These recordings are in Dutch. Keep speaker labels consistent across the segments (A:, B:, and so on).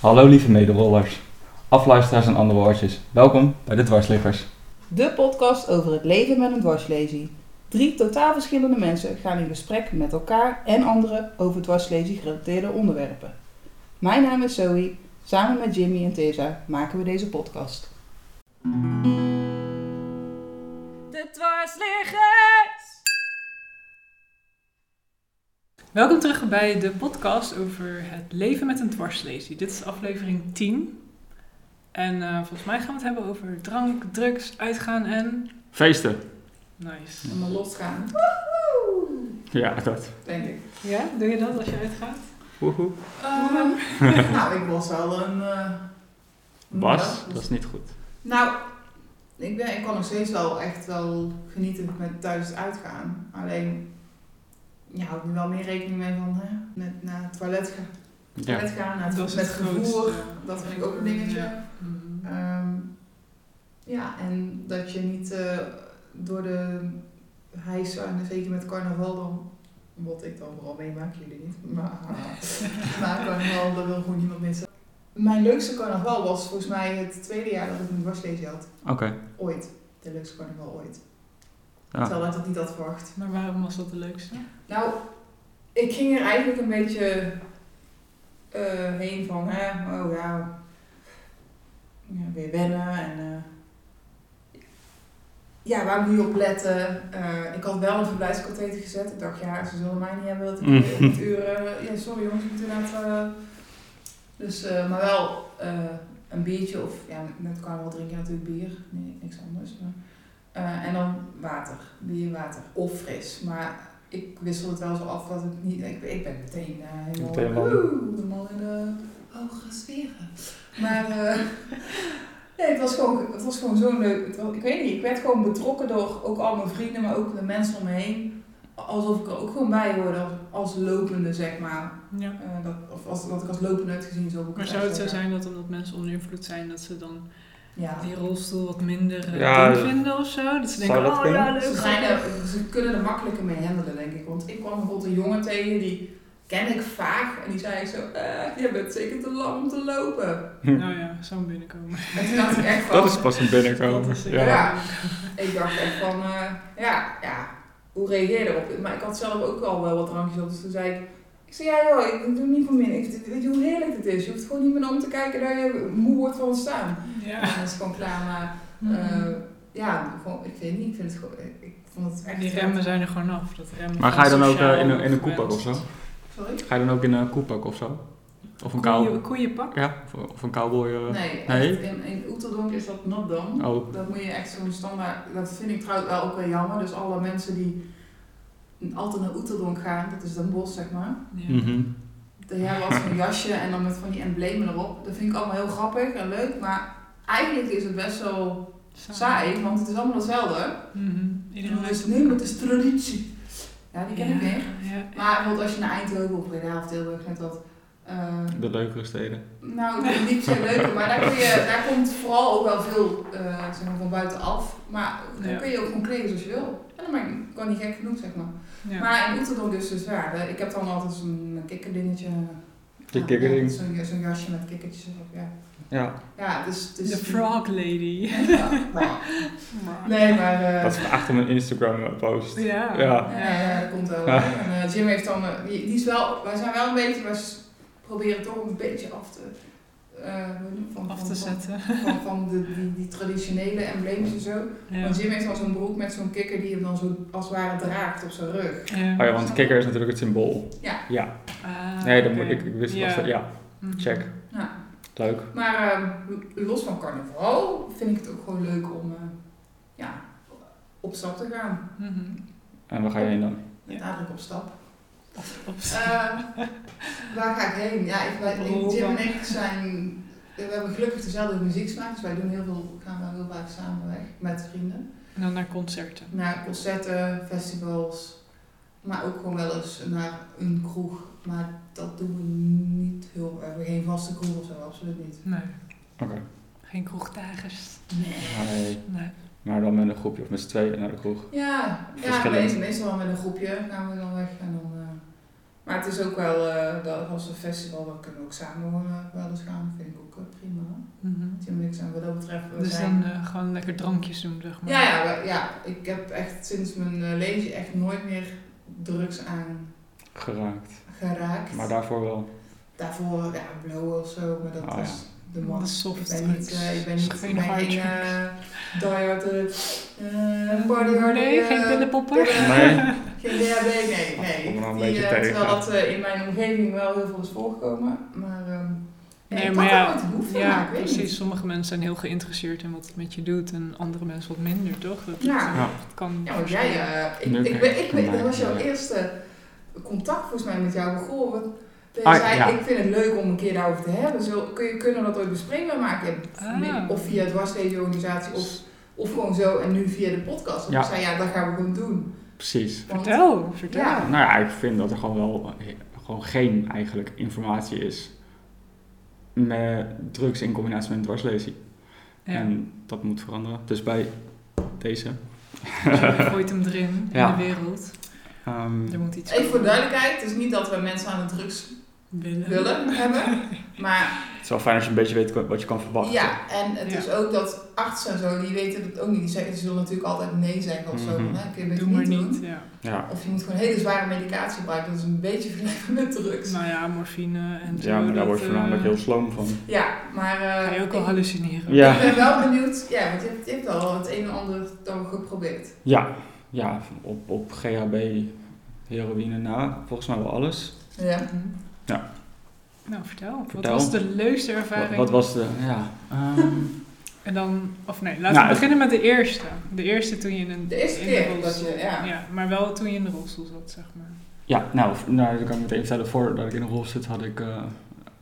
A: Hallo lieve medewollers, afluisteraars en andere woordjes. Welkom bij de Dwarsliggers.
B: De podcast over het leven met een dwarslesie. Drie totaal verschillende mensen gaan in gesprek met elkaar en anderen over dwarslesie gerelateerde onderwerpen. Mijn naam is Zoe. Samen met Jimmy en Tessa maken we deze podcast.
C: De dwarsliggers!
D: Welkom terug bij de podcast over het leven met een dwarslesie. Dit is aflevering 10. En eh, volgens mij gaan we het hebben over drank, drugs, uitgaan en...
A: Feesten.
D: Nice.
B: Allemaal losgaan,
A: Ja, dat.
B: denk ik.
D: Ja, doe je dat als je uitgaat?
A: Woehoe.
C: Ehm.
B: nou, ik was wel een... eh,
A: Bas, dat is niet goed.
B: Nou, ik, ben, ik kan nog steeds wel echt wel genieten met thuis uitgaan. Alleen, je houdt nu wel meer rekening mee van hè, met naar het toilet, gaan,
A: Ja.
B: toilet gaan, naar het,
D: Dat is
B: met
D: het
B: vervoer.
D: grootste.
B: Dat vind ik eh, ook een dingetje.
D: Ja.
B: Ehm, ja, en dat je niet eh, door de hijs, en zeker met carnaval dan, wat ik dan vooral meemaak, jullie niet, maar, maar carnaval, dat wil gewoon niemand missen. Mijn leukste carnaval was volgens mij het tweede jaar dat ik een dwarslezen had.
A: Oké.
B: Ooit. De leukste carnaval ooit.
A: Ja.
B: Terwijl ik dat niet had verwacht.
D: Maar waarom was dat de leukste?
B: Nou, ik ging er eigenlijk een beetje eh, heen van, hè, oh ja, ja, weer wennen en eh, ja, waar moet je op letten? Eh, ik had wel een verblijfskatheter gezet. Ik dacht, ja, ze zullen mij niet hebben dat ik
A: Mm.
B: eh, op het uur, eh, ja, sorry jongens, ik moet inderdaad, eh, dus, eh, maar wel eh, een biertje of, ja, met carnaval drink je natuurlijk bier, nee, niks anders. Maar, eh, en dan water, bier, water of fris, maar ik wissel het wel zo af dat ik niet. Ik, ik ben meteen eh, helemaal.
A: Meteen wel.
B: Oeh, helemaal in de hogere sferen. Maar eh, nee, het was gewoon, het was gewoon zo leuk. Het was- ik weet niet, ik werd gewoon betrokken door ook al mijn vrienden, maar ook de mensen om me heen. Alsof ik er ook gewoon bij hoorde als, als lopende, zeg maar.
D: Ja.
B: Eh, dat, of als, wat ik als lopende had gezien. Zo ook
D: Maar zou het zo zijn dat omdat mensen onder invloed zijn, dat ze dan
B: Ja.
D: die rolstoel wat minder eh,
A: Ja,
D: ding vinden of zo? Dat ze
A: zou
D: denken,
A: dat
D: oh
A: kunnen?
D: ja, leuk.
B: Ze, zijn er, ze kunnen er makkelijker mee handelen, denk ik. Want ik kwam bijvoorbeeld een jongen tegen, die ken ik vaag. En die zei zo, eh, je bent zeker te lang om te lopen.
D: Nou ja, zo'n binnenkomen.
B: En toen dacht ik echt van,
A: Dat is pas een
D: Dat
A: binnenkomen.
D: is-
A: Ja.
B: Ja. ik dacht echt van, eh, ja, ja, hoe reageer je erop? Maar ik had zelf ook al wel wat drankjes op. Dus toen zei ik, ik zei, ja joh, ik doe niet meer min. Ik- Weet je hoe heerlijk dit is? Je hoeft gewoon niet meer om te kijken dat je moe wordt van het staan.
D: Ja.
B: En dan is het gewoon klaar, maar...
D: Mm.
B: eh, ja, gewoon, ik weet niet, ik vind het gewoon, ik- ik vond het echt...
D: Die remmen zijn er gewoon af. Dat remmen
A: Maar
D: van
A: ga je dan ook
D: sociaal
A: eh, in, een, in
D: bent.
A: een koepak of zo?
B: Sorry?
A: Ga je dan ook in een koepak of zo? Of een
D: Koeien-
A: cowboy?
D: Koeienpak?
A: Ja, of, of een cowboy. eh,
B: Nee,
A: Nee?
B: echt, in, in Oeteldonk is dat not done.
A: Oh,
B: Dat moet je echt zo'n standaard... Dat vind ik trouwens wel ook wel jammer. Dus alle mensen die altijd naar Oeteldonk gaan, dat is een bos zeg maar.
D: Ja.
A: mhm.
B: De jij wat zo'n jasje en dan met van die emblemen erop. Dat vind ik allemaal heel grappig en leuk, maar eigenlijk is het best wel saai, want het is allemaal hetzelfde.
D: Mhm. Iedereen
B: Dus
D: heeft
B: nee, maar het is traditie. Ja, die ken ik
D: Ja,
B: niet.
D: ja.
B: Maar bijvoorbeeld als je naar Eindhoven of Breda of Tilburg net wat... eh,
A: De leukere steden.
B: Nou, dat is niet zo leuk, maar daar, kun je, daar komt vooral ook wel veel eh, zeg maar, van buitenaf. Maar dan
D: Ja.
B: kun je ook gewoon kleden zoals je wil. En dan ben ik kan niet gek genoeg, zeg maar.
D: Ja.
B: Maar in Oeteldonk is dus ja, de- ik heb dan altijd zo'n eh, kikkerdingetje.
A: Die
B: Ja,
A: kikkerding.
B: Zo'n zo'n jasje met kikkertjes erop, ja.
A: Ja.
B: Ja, dus... dus
D: De frog lady.
B: Ja. Nee, maar... eh,
A: Dat is echt een Instagram eh, post.
D: Ja.
A: Ja.
B: Ja, ja, dat komt wel.
A: Ja.
B: En eh, Jim heeft dan, eh, die, die is wel, wij zijn wel een beetje, wij s- proberen toch een beetje af te, eh, hoe noem je- van,
D: Af
B: van-
D: te
B: van,
D: zetten.
B: van, van de, die, die traditionele embleems en zo.
D: Ja.
B: Want Jim heeft dan zo'n broek met zo'n kikker die hem dan zo als het ware draagt op zijn rug.
A: Oh ja, want kikker is natuurlijk het symbool.
B: Ja.
A: Ja.
D: Ah,
A: Nee, dat moet
D: oké.
A: ik, ik wist ja. Ja,
D: Mhm.
A: check.
B: Ja.
A: Leuk.
B: Maar eh, los van carnaval vind ik het ook gewoon leuk om eh, ja, op stap te gaan.
D: Mhm.
A: En waar ga je heen dan?
B: Met
D: Ja.
B: nadruk op stap.
D: Op- op-
B: Eh, waar ga ik heen? Ja, ik, wij, ik- Jim en ik zijn. We hebben gelukkig dezelfde muzieksmaak, dus wij doen heel veel, gaan wel heel vaak samen weg met vrienden.
D: En dan naar concerten.
B: Naar concerten, festivals, maar ook gewoon wel eens naar een kroeg. Maar dat doen we niet heel erg. We hebben geen vaste kroeg of zo, absoluut niet.
D: Nee.
A: Oké.
D: Geen kroegdagers.
B: Nee.
A: Hey.
D: Nee.
A: Maar dan met een groepje of met z'n tweeën naar de kroeg.
B: Ja, ja
A: Verschillend.
B: meestal, meestal wel met een groepje gaan we dan weg en dan. eh, Maar het is ook wel, eh, dat als een festival, dan kunnen we ook samen eh, wel eens gaan. Vind ik ook eh, prima.
D: Mhm.
B: Tim en ik zijn wat dat betreft, we
D: Dus
B: zijn...
D: dan eh, gewoon lekker drankjes doen, zeg maar.
B: Ja, ja, we- ja, ik heb echt sinds mijn eh, lezen echt nooit meer drugs aan
A: Geraakt.
B: geraakt.
A: Maar daarvoor wel.
B: Daarvoor, ja, blow of zo, maar dat
A: Oh,
B: was
A: ja.
B: de man.
D: Dat is soft
B: Ik ben niet,
D: drugs.
B: eh, ik ben niet, ik
D: Geen
B: ben
D: hard
B: geen
D: drugs.
B: eh, die-hard eh, party hard,
D: Nee,
B: eh,
D: geen pillenpopper.
A: Nee.
B: Geen DHB, nee,
A: Dat
B: nee.
A: komt me nou een
B: Die,
A: beetje
B: eh,
A: tegen.
B: Terwijl dat eh, in mijn omgeving wel heel veel is voorgekomen, maar... ehm,
D: Nee,
B: ik
D: maar
B: had er
D: ja,
B: nooit een behoefte aan,
D: ja,
B: ik weet
D: precies.
B: niet.
D: Sommige mensen zijn heel geïnteresseerd in wat het met je doet en andere mensen wat minder, toch? Dat,
B: Ja.
A: Ja.
D: dat kan
B: Ja, want jij,
D: verschillen.
B: eh,
A: Nu
B: ik, ik,
A: kijk
B: weet-
A: ik
B: ik weet-
A: naar
B: dat was jouw
A: mij.
B: eerste contact volgens mij met jou begonnen. Want je
A: Ah,
B: zei,
A: ja.
B: ik vind het leuk om een keer daarover te hebben. Zo, kun je, kunnen we dat ooit bespreken? Maar ik heb
D: Ah.
B: min- of via het organisatie of, of gewoon zo en nu via de podcast. En
A: Ja.
B: ik zei, ja, dat gaan we gewoon doen.
A: Precies.
B: Want-
D: Vertel, vertel.
B: Ja.
A: Nou ja, ik vind dat er gewoon wel eh, gewoon geen eigenlijk informatie is met drugs in combinatie met dwarslesie.
D: Ja.
A: En dat moet veranderen. Dus bij deze.
D: Dus je gooit hem erin
A: Ja.
D: in de wereld.
A: Ehm,
D: Er moet iets
B: Even voor
D: komen.
B: duidelijkheid, het is niet dat we mensen aan de drugs
D: willen.
B: willen hebben. Maar
A: het is wel fijn als je een beetje weet wat je kan verwachten.
B: ja, en het
D: Ja.
B: is ook dat artsen en zo, die weten dat ook niet. Die zeggen, ze zullen natuurlijk altijd nee zeggen of zo.
A: Mhm.
B: van, hè, kun je beter
D: Doe maar
B: doen.
D: niet. Ja.
A: Ja.
B: Of je moet gewoon hele zware medicatie gebruiken. Dat is een beetje vergelijkbaar met drugs.
D: Nou ja, morfine en zo.
A: Ja, maar daar
D: dat,
A: word je
D: eh,
A: voornamelijk heel sloom van.
B: Ja, maar... eh,
D: Ga je ook
B: ik-
D: al hallucineren.
A: Ja.
B: Ik ben wel benieuwd. Ja, want je hebt, je hebt al het een en ander dan geprobeerd.
A: Ja, ja op, op GHB, heroïne na, volgens mij wel alles.
B: Ja.
D: Mhm.
A: Ja.
D: Nou, vertel.
A: Vertel.
D: Wat was de leukste
A: Wat,
D: ervaring?
A: wat was de, ja. ehm,
D: En dan, of nee, laten
A: Nou,
D: we
A: het-
D: beginnen met de eerste. De eerste toen je in
B: De eerste
D: in
B: keer
D: rolstoel-
B: dat je... Ja.
D: Ja, maar wel toen je in de rolstoel zat, zeg maar.
A: ja, nou, v- nou, dat kan ik meteen vertellen, voordat ik in de rol zit had ik eh,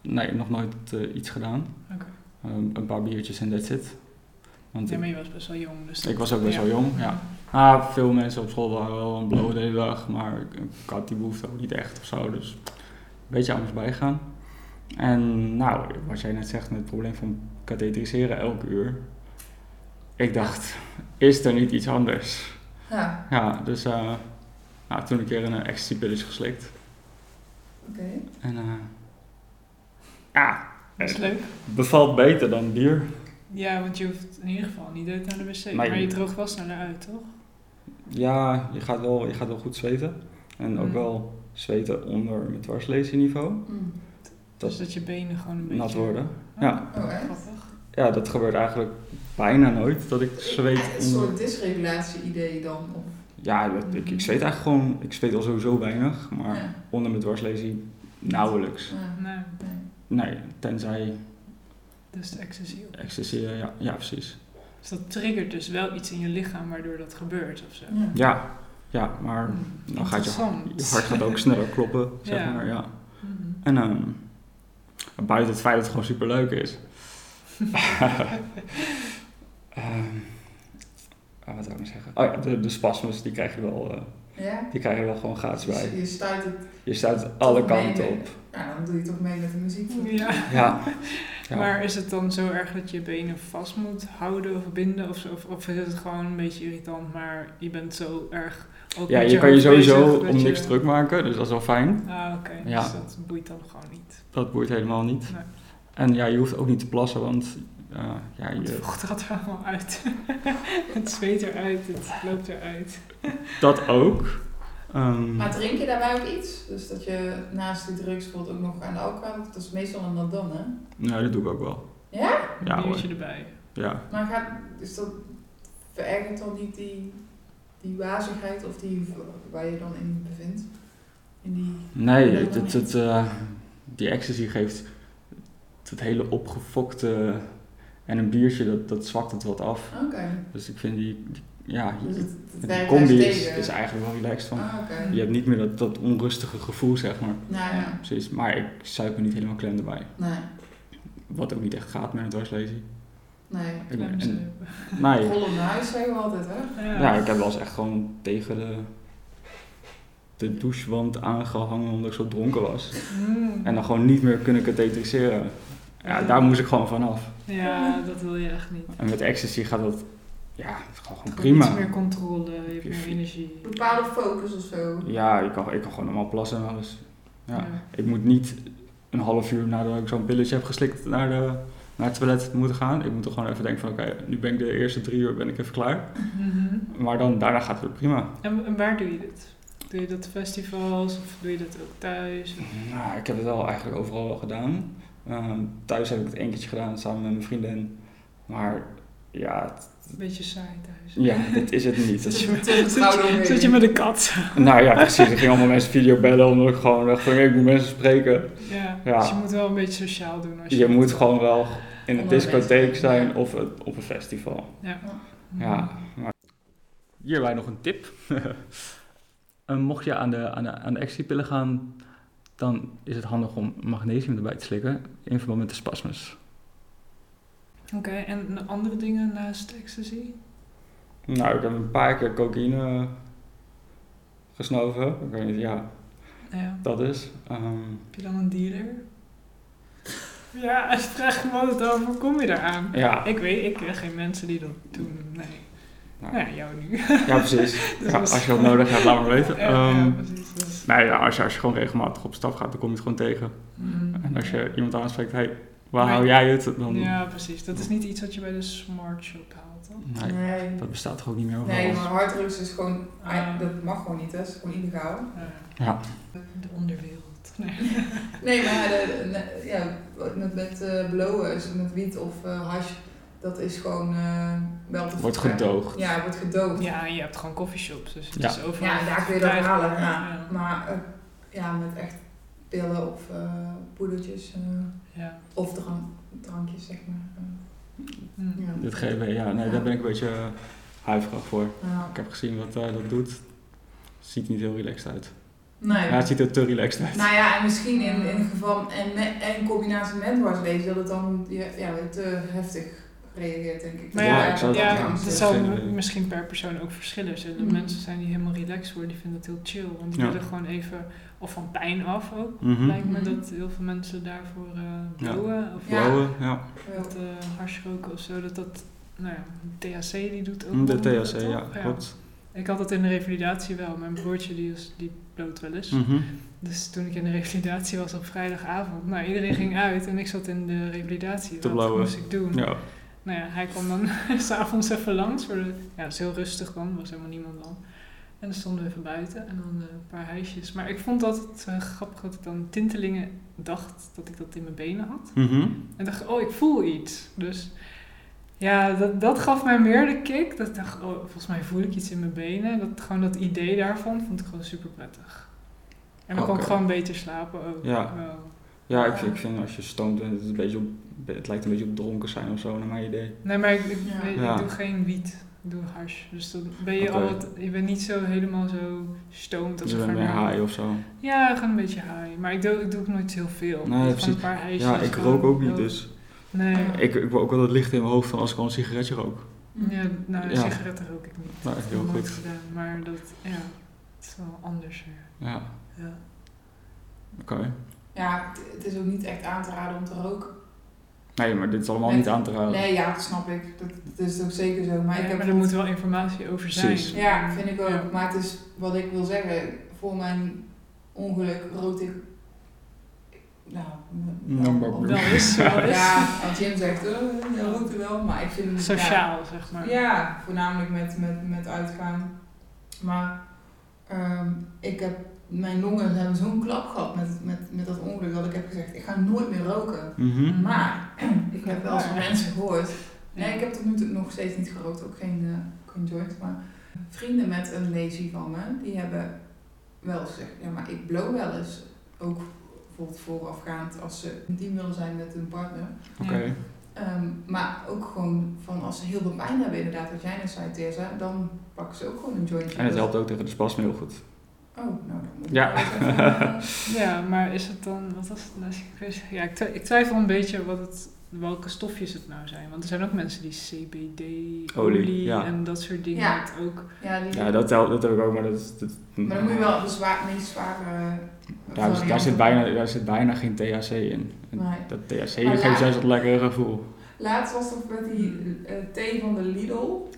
A: nee, nog nooit eh, iets gedaan.
D: Oké.
A: Ehm, een paar biertjes en that's it. Want
D: Ja,
A: ik,
D: maar je was best wel jong. Dus
A: ik was ook best wel jong, ja. Ah, veel mensen op school waren wel een blow de hele dag, maar ik, ik had die behoefte ook niet echt of zo, dus een beetje anders bijgaan. En nou, wat jij net zegt met het probleem van katheteriseren elke uur. Ik dacht, is er niet iets anders?
B: Ja,
A: Ja, dus eh, nou, toen een keer een eh, ecstasy-pilletje geslikt.
B: oké.
A: En eh, ja,
D: Dat is
A: eh,
D: leuk.
A: bevalt beter dan bier.
D: Ja, want je hoeft in ieder geval niet dood naar de wc.
A: Maar
D: Maar,
A: je-
D: je droogt wel sneller uit, toch?
A: Ja, je gaat wel, je gaat wel goed zweten. En ook
D: Mm.
A: wel zweten onder mijn dwarsleseniveau.
B: Hm.
A: Dat-
D: dus dat je benen gewoon een beetje...
A: nat worden.
D: Oh,
A: Ja.
B: Oh, echt?
D: Grappig.
A: Ja, dat gebeurt eigenlijk bijna nooit dat ik
B: Eh, Een
A: zweet onder...
B: soort dysregulatie-idee dan. Of,
A: Ja, dat, ik, ik zweet eigenlijk gewoon... Ik zweet al sowieso weinig, maar
B: Ja.
A: onder mijn dwarslesie nauwelijks.
B: ja,
D: Nee,
B: nee.
A: Nee, tenzij
D: dus Nou, de ecstasy. ook.
A: ecstasy, eh, ja, ja precies.
D: Dus dat triggert dus wel iets in je lichaam waardoor dat gebeurt of zo.
B: Ja.
A: Ja, ja maar
D: Hm,
A: dan gaat je,
D: interessant.
A: je hart gaat ook sneller kloppen, zeg
D: Ja.
A: maar, ja.
D: Mhm.
A: En ehm, buiten het feit dat het gewoon super leuk is. Ehm, ah, wat zou ik nou zeggen? Oh ja, de, de spasmus, die krijg je wel... eh,
B: Ja?
A: Die krijg je wel gewoon gratis bij.
B: Je stuit het...
A: Je staat alle
B: Toch mee
A: kanten
B: met-
A: op.
B: Nou, dan doe je toch mee met de muziek.
D: Mhm. Ja.
A: Ja. ja.
D: Maar is het dan zo erg dat je je benen vast moet houden of binden? Of, zo? of, of is het gewoon een beetje irritant, maar je bent zo erg... Ook
A: ja,
D: met
A: je kan je
D: hoofd
A: sowieso
D: bezig dat
A: om
D: je-
A: niks druk maken, dus dat is wel fijn.
D: Ah, oké.
A: Ja.
D: Dus dat boeit dan gewoon niet.
A: Dat boeit helemaal niet.
D: Nee.
A: En ja, je hoeft ook niet te plassen, want eh, ja,
D: Het
A: je,
D: vocht gaat er allemaal uit. het zweet eruit, het loopt eruit.
A: dat ook. Ehm,
B: Maar drink je daarbij ook iets? Dus dat je naast die drugs bijvoorbeeld ook nog aan de alcohol... Dat is meestal een nadan, hè?
A: nou, dat doe ik ook wel. Ja,
D: Een
A: hoor.
D: biertje erbij.
A: Ja.
B: Maar gaat, is dat, verergert dan niet die, die wazigheid of die, waar je dan in bevindt? In die,
A: Nee, het, het, het, eh, die ecstasy geeft dat hele opgefokte en een biertje, dat, dat zwakt het wat af.
B: oké.
A: Dus ik vind die, die- ja,
B: Dus
A: die,
B: het, het
A: die
B: werkt
A: combi
B: juist
A: is,
B: tegen.
A: is eigenlijk wel relaxed van.
B: Ah, oké.
A: Je hebt niet meer dat, dat onrustige gevoel, zeg maar.
B: Nou ja,
A: Precies, maar ik zuip me niet helemaal klem erbij.
B: nee,
A: Wat ook niet echt gaat met een dwarslesie.
B: nee.
A: En-
D: Klem
A: en-
D: zo.
A: Nee,
B: Rollen naar huis zeggen we altijd, hè?
D: Ja.
A: ja, ik heb wel eens echt gewoon tegen de, de douchewand aangehangen omdat ik zo dronken was.
D: Mm.
A: En dan gewoon niet meer kunnen katheteriseren. Ja, daar moest ik gewoon vanaf.
D: ja, dat wil je echt niet.
A: En met ecstasy gaat dat, ja, het gaat gewoon
D: Iets meer
A: prima.
D: controle, je hebt meer energie.
B: Bepaalde focus of zo.
A: Ja, ik kan, ik kan gewoon allemaal plassen en alles. Ja. Ik moet niet een half uur nadat ik zo'n pilletje heb geslikt naar, de, naar het toilet moeten gaan. Ik moet er gewoon even denken van oké, nu ben ik de eerste drie uur ben ik even klaar.
D: Mhm.
A: Maar dan daarna gaat het weer prima.
D: En, en waar doe je dit? Doe je dat op festivals of doe je dat ook thuis?
A: Nou, ik heb het wel eigenlijk overal wel gedaan. Ehm, thuis heb ik het één keertje gedaan samen met mijn vriendin. Maar ja, het-
D: Een beetje saai thuis.
A: ja dit is het niet.
B: Zit
A: Dat is-
B: je met een schouder omheen.
D: Zit je met een kat?
A: nou ja, precies. Ik ging allemaal mensen videobellen omdat ik gewoon dacht van ik moet mensen spreken.
D: Ja,
A: Ja.
D: dus je moet wel een beetje sociaal doen. Als je,
A: Je moet gewoon wel in een
B: Onder
A: discotheek
B: mensen.
A: zijn of het- op een festival.
D: Mhm.
A: Ja, maar... Hierbij nog een tip. Eh, mocht je aan de, aan, de, aan de ecstasypillen gaan, dan is het handig om magnesium erbij te slikken in verband met de spasmus.
D: Oké, en andere dingen naast ecstasy?
A: Nou, ik heb een paar keer cocaïne gesnoven. Ik weet niet, ja,
D: Nou Ja.
A: dat is. Ehm,
D: Heb je dan een dealer? ja, als je vraagt me altijd af, hoe kom je daaraan?
A: ja,
D: Ik weet, ik ken geen mensen die dat doen. Nee.
A: Nou.
D: Nou ja, jou nu.
A: ja, precies.
D: Dus
A: Ja,
D: was-
A: als je dat nodig hebt, laat maar
D: Ja,
A: weten.
D: ja,
A: Ehm,
D: precies. Dus,
A: nou ja, als je, als je gewoon regelmatig op stap gaat, dan kom je het gewoon tegen.
D: mm.
A: En als je iemand aanspreekt, hé, hey, waar
D: Nee.
A: hou jij het? Dan,
D: Ja, precies. Dat is niet iets wat je bij de smart shop haalt, toch?
A: Nee,
B: Nee.
A: dat bestaat toch ook niet meer overal?
B: Nee, maar harddrugs is gewoon,
D: Ah.
B: dat mag gewoon niet, hè. dat is gewoon illegaal.
A: Ja.
D: De onderwereld. Nee.
B: Nee, maar de, ne- ja, met, met eh, blowen, dus met wiet of eh hash, dat is gewoon eh, wel te
A: Wordt
B: verkrijgen.
A: gedoogd.
B: Ja, wordt gedoogd. Ja,
D: Ja, en je hebt gewoon coffeeshops, dus het
A: Ja.
D: is overal.
B: daar kun je dat
D: Ja.
B: halen. Ja.
D: Ja.
B: Maar eh, ja, met echt pillen of eh, poedertjes eh,
D: Ja.
B: of drank, drankjes, zeg maar. Eh,
D: Hm.
B: ja.
A: Dit GB, ja, nee, daar ben ik een beetje eh, huiverig voor.
B: Ja.
A: Ik heb gezien wat eh, dat doet. Ziet niet heel relaxed uit.
B: Nee.
A: Ja, het ziet er te relaxed uit.
B: Nou ja, en misschien in, in het geval, en, me- en in combinatie met dwarslezen, dat het dan ja, ja, te heftig reageert, denk ik.
D: Maar
A: Ja,
D: ja,
A: ik zou dat ook
D: ja,
A: graag
D: dat
A: willen.
D: zal
A: Geen idee.
D: misschien per persoon ook verschillen. Zullen
B: Mm.
D: mensen zijn die helemaal relaxed worden, die vinden het heel chill. Want die
A: Ja.
D: willen gewoon even, of van pijn af ook.
A: Mhm.
D: Lijkt me
B: Mhm.
D: dat heel veel mensen daarvoor eh
A: Ja.
D: blowen. Of
B: Ja.
A: Blauwe, ja.
B: Wel.
D: dat eh hars roken of zo. Dat dat, nou ja, THC die doet ook.
A: De
D: wel,
A: THC,
D: toch?
A: ja, klopt.
D: Ik had dat in de revalidatie wel. Mijn broertje die, is, die bloot wel eens.
A: Mhm.
D: Dus toen ik in de revalidatie was op vrijdagavond. Nou, iedereen ging uit en ik zat in de revalidatie.
A: Te
D: Wat
A: blowen.
D: moest ik doen?
A: Ja,
D: Nou ja, hij kwam dan s'avonds even langs. Voor de, ja, het is heel rustig dan, er was helemaal niemand dan. En dan stonden we even buiten en dan eh, een paar huisjes. Maar ik vond dat het eh, grappig dat ik dan tintelingen dacht dat ik dat in mijn benen had.
A: Mhm.
D: En dacht, ik, oh, ik voel iets. Dus ja, dat, dat gaf mij meer de kick. Dat ik dacht, oh, volgens mij voel ik iets in mijn benen. Dat, gewoon dat idee daarvan vond ik gewoon super prettig. En dan kon ik
A: Oké.
D: gewoon beter slapen ook.
A: Ja.
D: Wel.
A: ja ik, vind, ik vind als je stoned bent, het, is een beetje op, het lijkt een beetje op dronken zijn of zo, naar mijn idee.
D: Nee, maar ik, ik,
B: Ja.
D: weet- ik
A: Ja.
D: doe geen wiet. Ik doe hars. Dus dan ben je
A: Oké.
D: al wat... Je bent niet zo helemaal zo stoned als
A: Je
D: een
A: bent meer
D: garnaal.
A: high of zo.
D: Ja, gewoon een beetje high. Maar ik doe, ik doe ook nooit heel veel.
A: Nee,
D: Dus gewoon
A: precies.
D: Een paar huisjes,
A: Ja, ik
D: gewoon
A: rook ook niet,
D: rook.
A: dus
D: Nee.
B: Ja.
A: ik, ik wil ook wel het licht in mijn hoofd van als ik al een sigaretje rook.
D: Ja, nou,
A: Ja.
D: sigaretten rook ik niet.
A: Nou,
D: Dat heb
A: heel
D: ik nooit
A: goed.
D: gedaan. Maar dat, ja, het is wel anders weer.
A: Ja,
D: Ja.
A: oké.
B: Ja, het- het is ook niet echt aan te raden om te roken.
A: Nee, maar dit is allemaal
B: Nee.
A: niet aan te raden.
B: Nee, ja, dat snap ik. Dat, dat is ook zeker zo. Maar, ik
D: Ja,
B: heb
D: maar er moet wel Mm. informatie over zijn.
A: Precies.
B: Ja, vind ik ook. Maar het is wat ik wil zeggen. Voor mijn ongeluk rood ik. Nou, m-
A: Nou, maar-
B: op-
D: Wel is, wel is.
B: Ja, want Jim zegt, eh, je rookt er wel. Maar ik vind het.
D: Sociaal, zeg
B: Ja,
D: maar.
B: ja, voornamelijk met, met, met uitgaan. Maar ehm, ik heb. Mijn longen hebben zo'n klap gehad met, met, met dat ongeluk dat ik heb gezegd: ik ga nooit meer roken.
A: Mhm.
B: Maar ik heb wel eens van mensen gehoord Nee, ik heb tot nu toe nog steeds niet gerookt, ook geen, eh, geen joint. Maar vrienden met een lazy van me, die hebben wel eens gezegd, ja, maar ik blow wel eens. Ook bijvoorbeeld voorafgaand als ze intiem willen zijn met hun partner.
A: Oké.
B: Ehm, maar ook gewoon van als ze heel veel pijn hebben, inderdaad, wat jij net zei, Tessa, dan pakken ze ook gewoon een jointje.
A: En het helpt ook tegen de spasme heel goed.
B: Oh, nou dan moet ik
A: Ja.
B: wel eens even, eh,
D: Ja, maar is het dan, wat was het nou? Ik, weet- ja, ik, twi- ik twijfel een beetje wat het, welke stofjes het nou zijn. Want er zijn ook mensen die CBD, olie,
A: ja.
D: en dat soort dingen
B: Ja.
D: dat ook.
B: ja, die,
A: Ja, dat, helpt, dat heb ik ook, maar dat is... dat-
B: maar dan moet je wel de zwaar, meest zware... eh,
A: Ja, dus daar,
B: variant.
A: zit bijna, daar zit bijna geen THC in. En
B: Nee.
A: Dat THC
B: Maar
A: geeft
B: laag-
A: juist dat lekkere gevoel.
B: Laatst was dat met die eh, thee van de Lidl.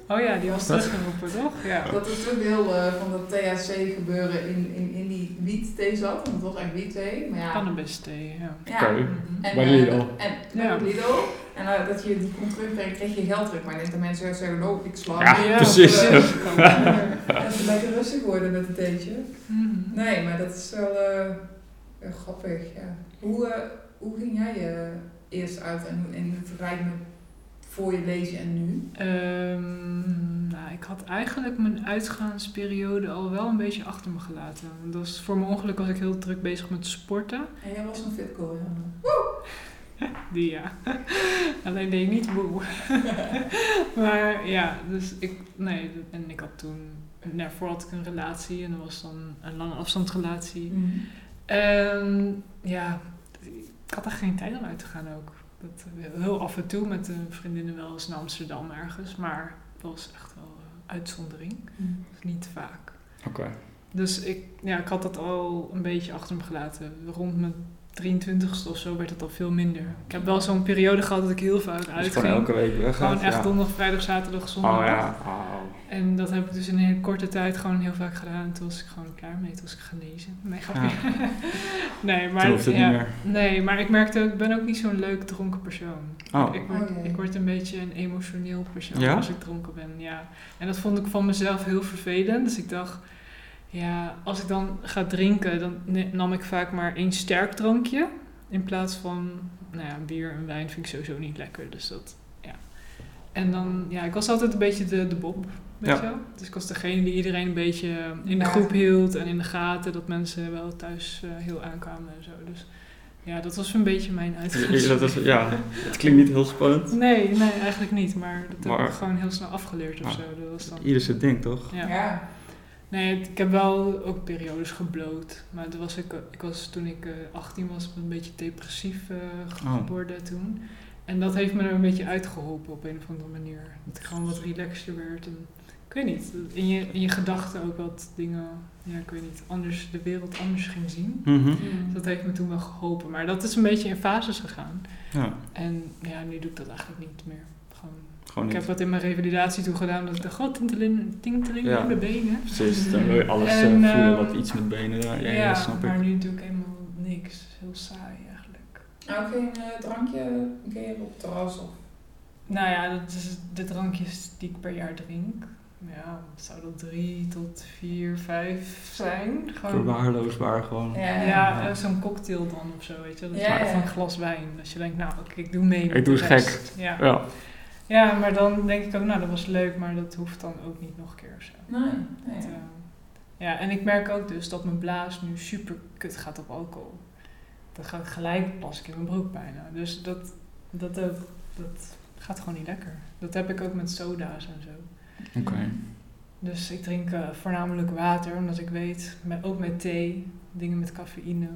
D: Oh ja, die was
A: Dat-
D: teruggeroepen, toch? Ja.
B: Dat er te veel eh, van dat THC gebeuren in, in, in die wietthee zat. Want het was echt wietthee. Maar ja,
D: Cannabis thee, ja.
B: ja.
A: Oké.
D: Mhm.
B: En,
A: Bij
B: eh,
A: Lidl.
B: En
D: Ja.
B: bij Lidl. En eh, dat je die kon terugbrengen, kreeg je geld terug. Maar net de mensen juist zeggen, oh, ik sla.
A: Ja,
B: hem.
A: precies.
B: Eh,
D: precies.
B: en ze lekker rustig worden met een theetje.
D: Mhm.
B: Nee, maar dat is wel eh, eh, grappig, ja. Hoe, eh, hoe ging jij je eerst uit en, en het vergelijk met voor je lezen en nu?
D: Ehm, nou, ik had eigenlijk mijn uitgaansperiode al wel een beetje achter me gelaten. Want Dat was voor mijn ongeluk was ik heel druk bezig met sporten.
B: En jij was een fitco, ja.
D: Die ja. Alleen deed ik niet woe. maar ja, dus ik, nee, en ik had toen, daarvoor had ik een relatie en dat was dan een lange afstandsrelatie. Ehm, ja, ik had echt geen tijd om uit te gaan ook. Dat, eh, heel af en toe met de vriendinnen wel eens naar Amsterdam ergens, maar dat was echt wel een uitzondering. Dus niet vaak.
A: Oké.
D: Dus ik, ja, ik had dat al een beetje achter me gelaten. Rond mijn 23ste of zo werd het al veel minder. Ik heb wel zo'n periode gehad dat ik heel veel uit
A: Dus
D: uitging.
A: gewoon elke week weg.
D: Gewoon echt
A: ja.
D: donderdag, vrijdag, zaterdag, zondag.
A: Oh ja. Oh.
D: En dat heb ik dus in een hele korte tijd gewoon heel vaak gedaan. En toen was ik gewoon klaar mee. Toen was ik genezen. Nee, grapje. nee, maar,
A: Toen hoeft het
D: ja.
A: niet meer.
D: nee, maar ik merkte ook, ik ben ook niet zo'n leuk dronken persoon.
A: Oh.
D: Ik, word,
B: Oh, jee.
D: ik word een beetje een emotioneel persoon
A: Ja?
D: als ik dronken ben. Ja. En dat vond ik van mezelf heel vervelend. Dus ik dacht, ja, als ik dan ga drinken, dan ne- nam ik vaak maar één sterk drankje. In plaats van, nou ja, bier en wijn vind ik sowieso niet lekker. Dus dat, ja. En dan, ja, ik was altijd een beetje de, de bob. Weet
A: Ja.
D: je wel? Dus ik was degene die iedereen een beetje in de
B: Ja.
D: groep hield en in de gaten. Dat mensen wel thuis eh, heel aankwamen en zo. Dus ja, dat was een beetje mijn uitgang.
A: Dat is, ja, het klinkt niet heel spannend.
D: Nee, nee, eigenlijk niet. Maar dat heb
A: Maar-
D: ik gewoon heel snel afgeleerd of
A: Ah.
D: zo. Dat was dan...
A: Ieder zijn ding, toch?
D: Ja.
B: Ja.
D: Nee, het- ik heb wel ook periodes gebloot. Maar toen was ik, eh, ik was, toen ik eh, 18 was, een beetje depressief eh, ge-
A: Oh.
D: geworden toen. En dat heeft me er een beetje uitgeholpen op een of andere manier. Dat ik gewoon wat relaxter werd. En, ik weet niet, dat in je, in je gedachten ook wat dingen, ja, ik weet niet, anders, de wereld anders ging zien.
A: Mhm.
D: Dus dat heeft me toen wel geholpen. Maar dat is een beetje in fases gegaan.
A: Ja,
D: En ja, nu doe ik dat eigenlijk niet meer. Gewoon
A: gewoon
D: ik
A: niet.
D: heb dat in mijn revalidatie toen gedaan, dat ik dacht, "Oh, god, tinteling, tinteling
A: Ja.
D: in mijn benen.
A: Precies, dan wil je alles eh,
D: En,
A: voelen
D: ehm,
A: wat iets met benen. Ja, ja,
D: Ja,
A: ja, snap
D: maar
A: ik.
D: nu doe ik helemaal niks. Heel saai eigenlijk.
B: Ook geen eh, drankje kun je op het terras of...
D: Nou ja, dat is de drankjes die ik per jaar drink. Ja, zou dat drie tot vier, vijf zijn? Gewoon,
A: Verwaarloosbaar gewoon.
B: Ja,
D: ja, eh, zo'n cocktail dan of zo, weet je wel. Dat
B: Ja,
D: maakt
B: ja.
D: van een glas wijn. Als je denkt, nou, oké, ik doe mee
A: Ik
D: met
A: doe
D: de
A: het gek.
D: rest. Ja.
A: Ja,
D: ja, maar dan denk ik ook, nou, dat was leuk, maar dat hoeft dan ook niet nog een keer of zo.
B: Nee,
D: Het,
B: nee.
D: eh, ja, en ik merk ook dus dat mijn blaas nu super kut gaat op alcohol. Dat gaat gelijk pas ik in mijn broek bijna. Dus dat, dat ook, dat gaat gewoon niet lekker. Dat heb ik ook met soda's en zo.
A: oké.
D: Dus ik drink eh, voornamelijk water, omdat ik weet, met, ook met thee, dingen met cafeïne.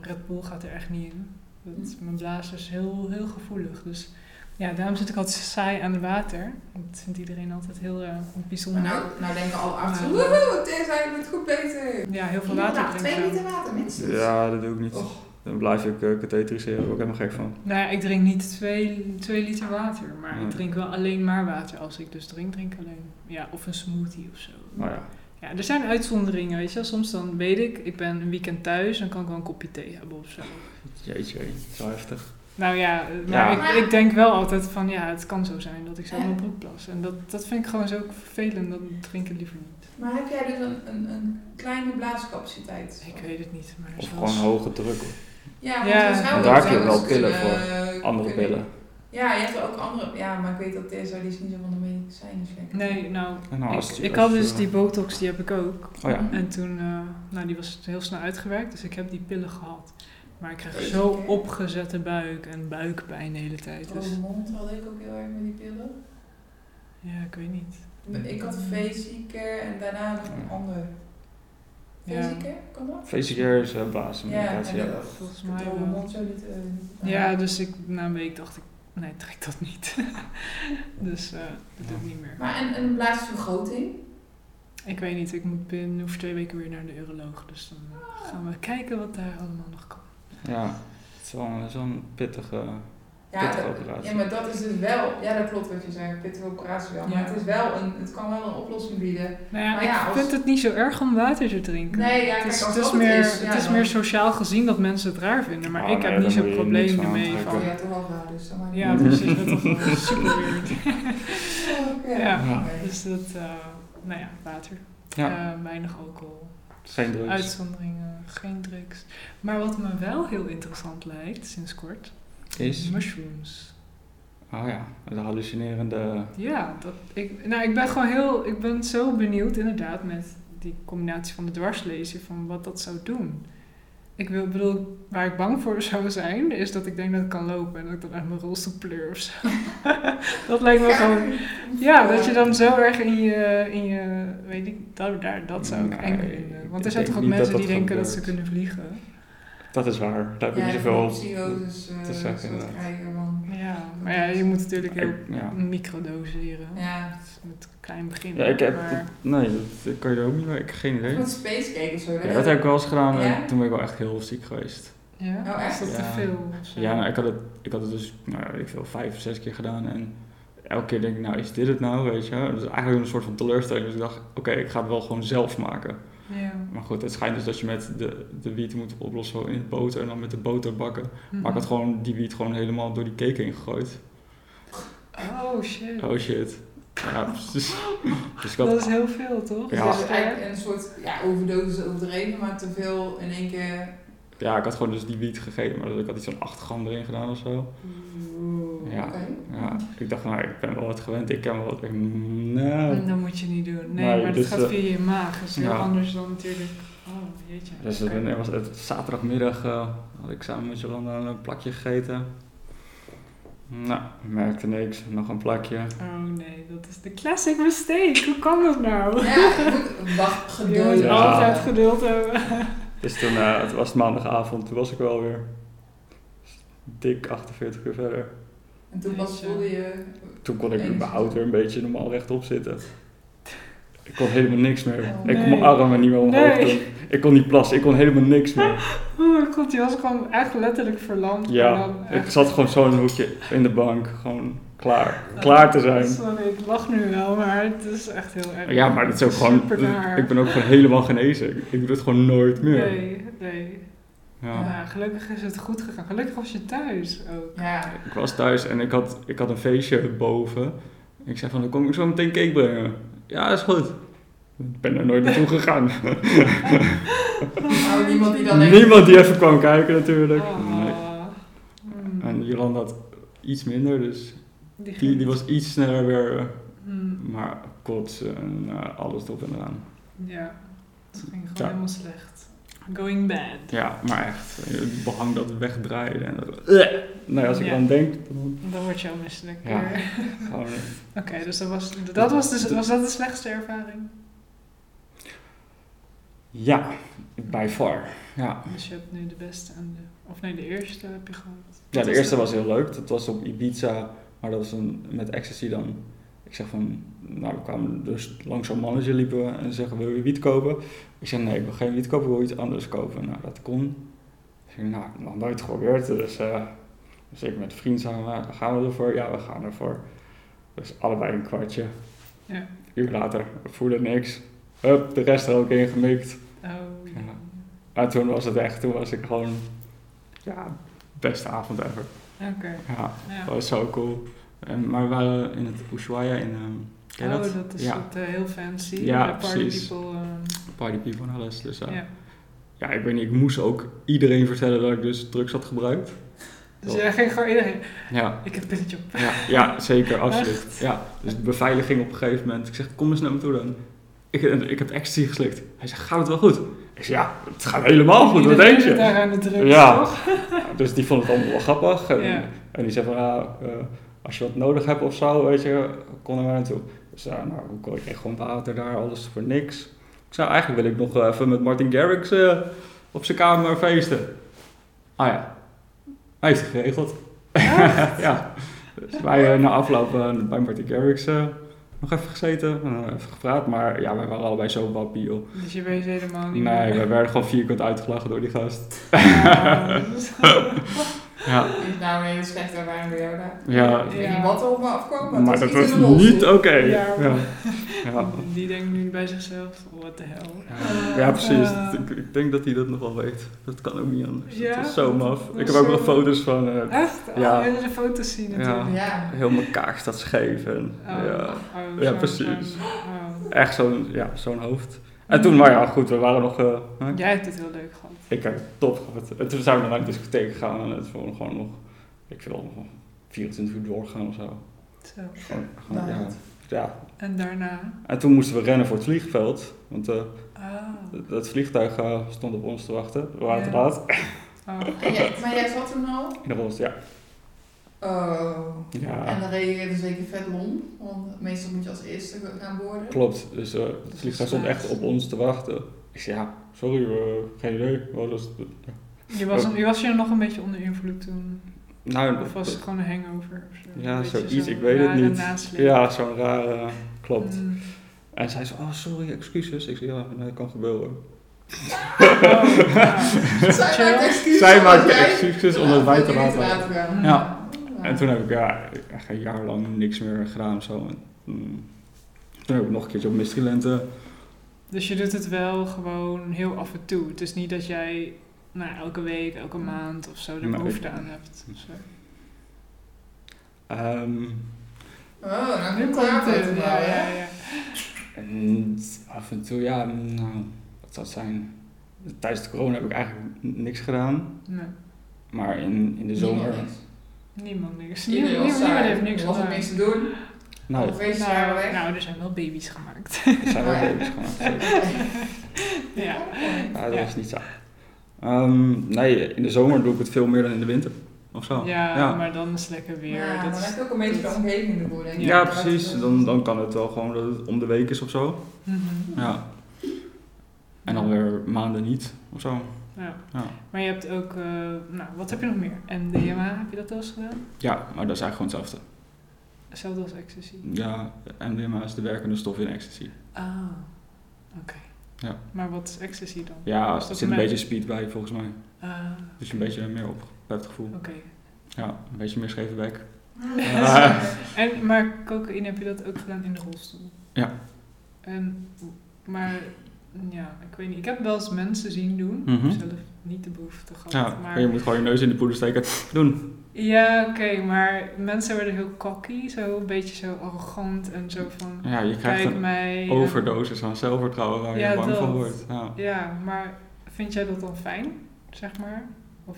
D: Red Bull gaat er echt niet in. Dat,
B: Hm.
D: mijn blaas is heel, heel gevoelig. Dus ja, daarom zit ik altijd saai aan water. Dat vindt iedereen altijd heel eh, bijzonder.
B: Nou, nou denken alle artsen,
D: Ja.
B: woehoe, Thea zijn met goed bezig.
D: Ja, heel veel
B: Ja,
D: water
B: nou,
D: drinken.
B: twee liter water minstens.
A: Ja, dat doe ik niet.
B: Och.
A: Dan blijf ik uh, katheteriseren, daar word ik helemaal gek van.
D: Nou ja, ik drink niet 2 liter water, maar
A: Nee.
D: ik drink wel alleen maar water. Als ik dus drink, drink ik alleen. Ja, of een smoothie of zo.
A: Nou ja,
D: Ja, er zijn uitzonderingen, weet je wel. Soms dan weet ik, ik ben een weekend thuis, dan kan ik wel een kopje thee hebben of zo.
A: jeetje, zo heftig.
D: Nou ja, maar
A: Ja.
D: Ik, ik denk wel altijd van, ja, het kan zo zijn dat ik zo in mijn
B: Ja.
D: broek plas. En dat, dat vind ik gewoon zo vervelend, dan drink ik het liever niet.
B: Maar heb jij dus een, een, een kleine blaascapaciteit?
D: Ik weet het niet, maar
A: Of
D: zoals-
A: gewoon hoge druk op
B: Ja, want
D: Ja.
B: er zou
D: Want
A: daar
B: ook
A: heb je
B: zou
A: wel
B: eens
A: pillen
B: kunnen-
A: andere
B: kunnen-
A: pillen.
B: Ja, je hebt er ook andere. Ja, maar ik weet dat Tessa die is niet zo van de medicijnen lekker.
D: Nee, nou,
A: En nou,
D: ik,
A: als-
D: ik
A: als
D: had
A: je-
D: dus die botox, die heb ik ook.
A: Oh ja.
D: En toen, eh, nou die was heel snel uitgewerkt, dus ik heb die pillen gehad. Maar ik kreeg
B: Deze
D: zo
B: keer?
D: opgezette buik en buikpijn de hele tijd. Dus
B: Rode mond had ik ook heel erg met die pillen.
D: ja, ik weet niet.
A: Mm.
B: Ik had feestziekter en daarna nog een ander.
D: Ja.
B: Feestziekter, kan dat?
A: Facecare is eh, blazen,
B: Ja,
A: medicatie.
B: en
A: Ja,
B: dat
D: Volgens
B: dat
D: mij
B: rode
D: wel.
B: mond zo niet. eh,
D: Ja, dus ik, na een week dacht ik, nee, trek dat niet. dus eh, dat doe ik niet meer.
B: Maar en, en een blaasvergroting?
D: Ik weet niet, ik moet binnen over twee weken weer naar de uroloog. Dus dan eh, gaan we kijken wat daar allemaal nog kan.
A: ja. Het is wel, het is wel een pittige
B: Ja,
A: pittige
B: dat-
A: operatie.
B: ja, maar dat is dus wel, ja dat klopt wat je zei, pittige operatie wel. Maar
D: Ja.
B: het, is wel een, het kan wel een oplossing bieden.
D: Nou ja,
B: Maar
D: ik
B: ja, als-
D: vind het niet zo erg om water te drinken.
B: Nee, ja,
D: het is,
B: kijk, als
D: het is
B: dat het
D: meer,
B: is, ja,
D: het is
B: dan-
D: meer sociaal gezien dat mensen het raar vinden. Maar
A: Ah,
D: ik
A: nee,
D: heb niet
A: daar
D: zo'n
A: moet je
D: probleem
A: niks van
D: ermee.
A: aantrekken.
D: Van,
B: Oh ja, toch wel raar, dus dan maakt het
D: ja,
B: niet
D: precies. Dat is wel super weird.
B: uit. Oké.
D: Ja.
A: Ja.
B: Nee.
D: Dus dat, eh, nou ja, water.
A: Ja,
D: Eh, weinig alcohol.
A: geen drugs.
D: Uitzonderingen, geen drugs. Maar wat me wel heel interessant lijkt sinds kort,
A: Is?
D: mushrooms.
A: Oh ja, de hallucinerende...
D: Ja, dat, ik, nou, ik ben gewoon heel, ik ben zo benieuwd inderdaad met die combinatie van de dwarslezer, van wat dat zou doen. Ik wil, bedoel, waar ik bang voor zou zijn, is dat ik denk dat ik kan lopen en dat ik dan uit mijn rolstoel pleur of zo. dat lijkt me gewoon... Ja, dat je dan zo erg in je, in je weet ik, daar, daar, dat zou ik
A: Nee,
D: eng vinden. Want er
A: ik
D: zijn
A: denk
D: toch ook
A: niet dat
D: mensen
A: dat
D: die denken dat ze
A: gebeurt.
D: kunnen vliegen.
A: Dat is waar, daar heb ik
B: Ja,
A: niet
B: dat
A: zoveel
B: moet psychoses, eh,
A: te
B: soort
A: zeggen, inderdaad.
B: krijgen van.
D: Ja, maar ja, je moet natuurlijk heel
A: Ik- ja.
D: microdoseren.
B: Ja,
D: Met klein beginnen.
A: Ja, ik heb...
D: maar-
A: Nee, dat kan je er ook niet mee. Ik heb geen idee.
B: met spacecake of zo.
A: Ja, dat heb ik wel eens gedaan en
B: Ja?
A: toen ben ik wel echt heel ziek geweest.
D: Ja,
B: Oh, echt?
D: is dat te
A: Ja.
D: veel? of zo?
A: Ja, nou, ik, had het, ik had het dus, nou, ja, weet ik veel, vijf of zes keer gedaan en elke keer denk ik, nou is dit het nou, weet je. Dat is eigenlijk een soort van teleurstelling, dus ik dacht, oké, ik ga het wel gewoon zelf maken.
D: Ja.
A: Maar goed, het schijnt dus dat je met de, de wiet moet oplossen in het boter en dan met de boter bakken. Maar ik
D: Mhm.
A: had gewoon die wiet gewoon helemaal door die cake heen gegooid.
D: Oh shit.
A: Oh shit. Ja, precies. Dus ik had,
D: dat is heel veel, toch? eh,
A: Ja.
B: Ja. Dus eigenlijk een soort ja, overdosis overdreven, maar te veel in één keer.
A: ja, ik had gewoon dus die wiet gegeten, maar ik had iets van 8 gram erin gedaan of zo.
D: Oeh.
A: Ja.
B: Oké.
A: Ja, ik dacht, nou, ik ben wel wat gewend, ik ken wel wat. Ik, nou,
D: mm, Dat moet je niet doen. Nee,
A: Nee,
D: maar dat
A: dus,
D: gaat
A: eh,
D: via je maag. Dat is heel
A: ja.
D: anders dan natuurlijk... Oh, jeetje.
A: Dus het, was het zaterdagmiddag eh, had ik samen met Jolanda een plakje gegeten. Nou, merkte niks. Nog een plakje.
D: Oh nee, dat is de classic mistake. Hoe kan dat nou?
B: Ja, je moet- wacht,
D: Je
B: geduld.
D: moet
A: Ja.
D: altijd geduld hebben.
A: Dus toen, eh, het was maandagavond, toen was ik wel weer dik 48 uur verder.
B: En toen pas voelde je.
A: Toen kon ik überhaupt weer een beetje normaal rechtop zitten. Ik kon helemaal niks meer. Ik kon
D: Oh, Nee.
A: mijn armen niet meer omhoog
D: Nee.
A: doen. Ik kon niet plassen, ik kon helemaal niks meer.
D: Oh mijn god, je was gewoon echt letterlijk verlamd. En
A: Ja,
D: Oh, dan
A: ik
D: echt-
A: zat gewoon zo in een hoekje in de bank. Gewoon klaar. Klaar te zijn.
D: Sorry, ik lach nu wel, maar het is echt heel erg.
A: Ja, maar dat is ook gewoon.
D: Supernaar.
A: Ik ben ook gewoon helemaal genezen. Ik doe het gewoon nooit meer.
D: Nee, nee.
A: Ja.
D: Nou, gelukkig is het goed gegaan. Gelukkig was je thuis ook.
B: Ja,
A: Ik was thuis en ik had, ik had een feestje boven. Ik zei van, dan kom ik zo meteen cake brengen. Ja, is goed. Ik ben er nooit naartoe gegaan.
B: nou, niemand die dan denkt.
A: Niemand die even kwam kijken natuurlijk.
D: Ah.
A: Nee.
D: Hmm.
A: En Jolanda had iets minder, dus die,
D: ging-
A: die was iets sneller weer. eh,
D: Hmm.
A: Maar kotsen en eh, alles erop en eraan.
D: Ja, het ging gewoon
A: Ja.
D: helemaal slecht. Going bad.
A: Ja, maar echt. eh, Het behang dat wegdraaide. En dat, Eh. nou ja, als ik
D: Ja.
A: dan denk, dan
D: Dan word je al misselijk.
A: Ja.
D: weer.
A: gewoon... eh,
D: Oké, dus dat was, dat was, dus, was dat de slechtste ervaring?
A: Ja, by far. Ja.
D: Dus je hebt nu de beste en de... Of nee, de eerste heb je gehad.
A: ja,
D: Wat
A: de
D: is
A: eerste
D: dat?
A: was heel leuk. Dat was op Ibiza, maar dat was een, met ecstasy dan. Ik zeg van, nou we kwamen dus langs zo'n mannetje liepen we en zeggen wil je wiet kopen? Ik zeg nee, ik wil geen wiet kopen, ik wil iets anders kopen. Nou, dat kon. Ik zeg nou, nog nooit geprobeerd. Dus, eh, dus ik met vriend samen, gaan we ervoor? Ja, we gaan ervoor. Dus allebei een kwartje.
D: Ja.
A: Een uur later, we voelden niks. Hup, de rest er ook ingemikt.
D: Oh, ja.
A: Ja. Maar toen was het echt, toen was ik gewoon, ja, beste avond ever.
D: Oké,
A: Ja,
D: nou ja.
A: dat was zo cool. En, maar we waren in het Ushuaia in, ehm ken je
D: Oh,
A: dat?
D: dat is
A: Ja.
D: dat, eh, heel fancy.
A: Ja,
D: de party
A: precies.
D: people. ehm,
A: Party people en alles. Dus eh,
D: ja.
A: ja. ik weet niet, ik moest ook iedereen vertellen dat ik dus drugs had gebruikt.
D: Dus jij ging gewoon iedereen...
A: Ja,
D: Ik heb een pilletje op.
A: ja, ja zeker, absoluut. Ja, dus de beveiliging op een gegeven moment. Ik zeg, kom eens naar me toe dan. Ik, ik heb ecstasy geslikt. Hij zegt, gaat het wel goed? Ik zeg, ja, het gaat helemaal goed, wat
D: Iedereen
A: denk
D: zit
A: je?
D: daar aan de drugs,
A: Ja.
D: toch?
A: Dus die vond het allemaal wel grappig. En,
D: Ja.
A: en die zei van, ja, eh, als je wat nodig hebt of zo, weet je, kon er maar naartoe. Dus ja, nou, hoe kon ik echt gewoon water daar, alles voor niks. Ik zei, eigenlijk wil ik nog wel even met Martin Garrix eh, op zijn kamer feesten. Ah ja, hij heeft het geregeld. ja, dus wij eh, na afloop eh, bij Martin Garrix eh, nog even gezeten, en, eh, even gepraat. Maar ja, wij waren allebei zo wappie, joh.
D: Dus je weet helemaal niet
A: Oh, Nee,
D: meer.
A: we werden gewoon vierkant uitgelachen door die gast.
D: Ah, dus-
A: Ja,
B: Is nou een hele slechte ervaring bij jou daar.
A: Ja.
B: Ik weet niet wat er op me afkwam, maar,
A: maar
B: het
A: dat
B: was
A: was
B: iets in de rolstoel.
A: niet oké.
D: Ja.
A: Ja. Ja.
D: Die denkt nu bij zichzelf, what the hell.
A: ja, precies.
D: Eh.
A: Ik, ik denk dat hij dat nog wel weet. Dat kan ook niet anders.
D: Ja?
A: Dat is zo maf.
D: Dat
A: Ik
D: is
A: heb ook
D: zo-
A: nog foto's van eh,
D: Echt? Oh,
A: Ja.
D: ja. de foto's zien
A: Ja.
D: natuurlijk.
B: Ja.
A: heel mijn kaak staat scheef. En,
D: Oh,
A: ja.
D: oh,
A: Ja,
D: zo-
A: precies.
D: zo- oh.
A: Echt zo'n ja, zo'n hoofd. En toen, maar ja, goed, we waren nog... eh, hè?
D: Jij hebt het heel leuk gehad.
A: Ik heb het top gehad. En toen zijn we naar de discotheek gegaan en het is gewoon, gewoon nog, ik wil nog 24 uur doorgaan of zo.
D: Zo.
A: Gewoon, gewoon, ja.
B: Nou.
A: ja.
D: En daarna?
A: En toen moesten we rennen voor het vliegveld, want eh,
D: Ah.
A: d- dat vliegtuig eh, stond op ons te wachten. We waren te
D: Ja.
A: laat.
D: Oh.
B: En jij- maar jij zat toen al?
A: In de rolstoel, ja.
B: Oh. En
A: Ja,
B: dan reed je er zeker vet lom, want meestal moet je als eerste gaan boorden.
A: klopt. Dus eh, het vliegtuig stond echt op ons te wachten. Ik zei, ja, sorry, eh, geen idee. dus- Wat is het?
D: Je, was, je was je nog een beetje onder invloed toen?
A: Nou,
D: Of was het gewoon een hangover? of zo?
A: ja,
D: Een beetje
A: zoiets,
D: zo'n
A: ik weet het
D: rare
A: niet.
D: nasleep.
A: Ja, zo'n rare, klopt.
D: Mm.
A: En zij zei, oh, sorry, excuses. Ik zei, ja, nee, dat kan gebeuren.
D: Oh, ja.
B: Zij maakt excuses.
A: Zij
B: omdat
A: maakte
B: jij-
A: excuses omdat wij te
B: jullie
A: laat waren.
B: waren.
A: Ja.
D: Ah.
B: Oh,
A: En toen heb ik ja, echt een jaar lang niks meer gedaan of zo. En, mm, toen heb ik nog een keertje op eh, Mystery Lente.
D: Dus je doet het wel gewoon heel af en toe. Het is niet dat jij nou, elke week, elke maand of zo er
A: Mm. Nee. Mm.
D: behoefte aan hebt. of zo.
A: Ehm,
B: Oh, nou nu komt het.
D: Ja,
B: wel,
D: ja,
B: hè?
D: ja.
A: en af en toe, ja, nou, wat zou het zijn? Tijdens de corona heb ik eigenlijk n- niks gedaan.
D: Nee,
A: Maar in, in de zomer...
B: Niemand niks.
D: niemand niks. Niemand,
B: Iedereen was
D: niemand, niemand
B: saai.
D: heeft niks
B: Er was ook
D: gedaan.
B: niks te doen.
A: Nou,
B: Alle feestjes waren
D: Nou,
B: weg.
D: nou, er zijn wel baby's gemaakt.
A: er zijn wel baby's gemaakt. zeker.
D: ja.
A: Ja, dat
D: Ja.
A: was niet saai. Ehm, nee, in de zomer doe ik het veel meer dan in de winter. Of zo.
D: Ja,
A: Oh, Ja.
D: maar dan is het lekker weer.
B: Ja,
D: dat
B: maar
D: is...
B: dat is ook een beetje de omgeving ervoor, denk ik.
A: Ja, precies. Dan, dan kan het wel gewoon dat het om de week is of zo.
D: Mhm.
A: Ja. En dan weer maanden niet of zo.
D: Ja.
A: Ja.
D: Maar je hebt ook, eh, nou, wat heb je nog meer? MDMA, heb je dat wel eens gedaan?
A: Ja, maar dat is eigenlijk gewoon hetzelfde.
D: Hetzelfde als ecstasy.
A: Ja, MDMA is de werkende stof in ecstasy.
D: Ah, oké.
A: Ja.
D: Maar wat is ecstasy dan?
A: Ja, er
D: Is dat
A: zit een
D: mij-
A: beetje speed bij volgens mij.
D: Ah,
A: Dus een beetje meer opgepept gevoel.
D: oké.
A: Ja, een beetje meer scheve bek.
D: Ja.
A: Ah.
D: En, maar cocaïne heb je dat ook gedaan in de rolstoel?
A: Ja.
D: En, maar, ja, ik weet niet. Ik heb wel eens mensen zien doen.
A: Mhm.
D: Ik heb Zelf niet de behoefte gehad.
A: Ja,
D: maar,
A: je moet gewoon je neus in de poeder steken. Doen.
D: Ja, oké, maar mensen werden heel cocky, zo een beetje zo arrogant en zo van,
A: Ja, je krijgt
D: kijk
A: een
D: mij. eh, en-
A: overdosis aan zelfvertrouwen waar je
D: Ja,
A: bang van
D: dat.
A: wordt. Ja.
D: Ja, maar vind jij dat dan fijn, zeg maar? Of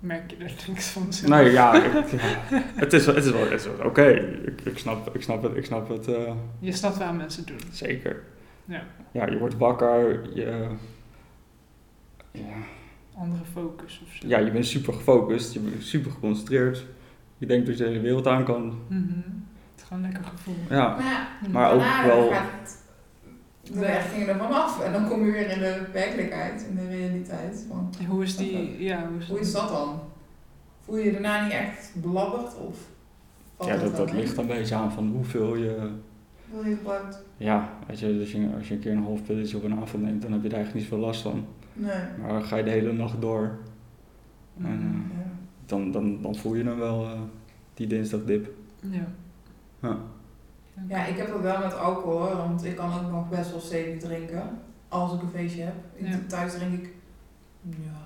D: merk je er niks van? zelf?
A: Nee, ja, ik- ja. Het is wel, het is wel, het is wel oké. Ik, ik, snap, ik snap het, ik snap het. eh,
D: Je snapt waar mensen het doen.
A: Zeker.
D: Ja.
A: Ja, je wordt wakker, je, ja,
D: Andere focus of zo.
A: ja, je bent super gefocust, je bent super geconcentreerd. Je denkt dat je de hele wereld aan kan.
D: Mhm. Het is gewoon een lekker gevoel. Mhm.
A: Ja,
B: Maar ja,
A: Maar ook
B: daarna
A: wel-
B: gaat het- De weg ging er vanaf. En dan kom je weer in de werkelijkheid, in de realiteit. Want
D: Hoe is die... Ja, hoe is,
B: hoe is dat dan? Voel je je daarna niet echt belabberd? Of valt
D: Oh,
A: ja
B: het
A: dat,
B: wel
A: dat
B: mee?
A: ligt een beetje aan van hoeveel je...
B: Wil je gebruikt?
A: Ja, weet je, als je, als je een keer een half pilletje op een avond neemt, dan heb je er eigenlijk niet zoveel last van.
B: Nee.
A: Maar ga je de hele nacht door,
D: Mhm.
B: Ja.
A: dan, dan, dan voel je dan wel eh, die dinsdagdip.
D: Ja.
A: eh, Ja.
D: Oké.
B: Ja, ik heb het wel met alcohol, hoor, want ik kan ook nog best wel stevig drinken. Als ik een feestje heb. Ik-
D: Ja.
B: Thuis drink ik... Ja,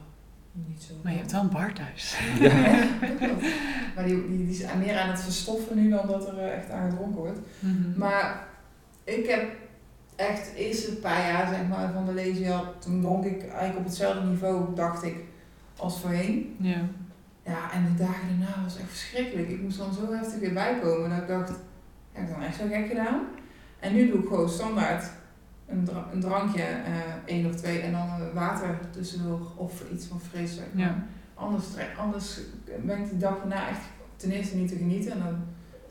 B: niet zo.
D: Maar je hebt wel een bar thuis.
A: Ja.
B: maar die, die, die is meer aan het verstoffen nu dan dat er eh, echt aan gedronken wordt.
D: Mhm.
B: Maar ik heb echt de eerste paar jaar zeg maar, van de leesjaar, toen dronk ik eigenlijk op hetzelfde niveau, dacht ik, als voorheen.
D: Mhm. Ja.
B: Ja, en de dagen daarna was echt verschrikkelijk. Ik moest dan zo heftig weer bijkomen dat ik dacht, heb ik dan echt zo gek gedaan? En nu doe ik gewoon standaard een, dra- een drankje, eh, één of twee, en dan eh, water tussendoor of iets van fris. zeg maar.
D: Ja.
B: Anders, tre- anders ben ik de dag daarna echt ten eerste niet te genieten. En dan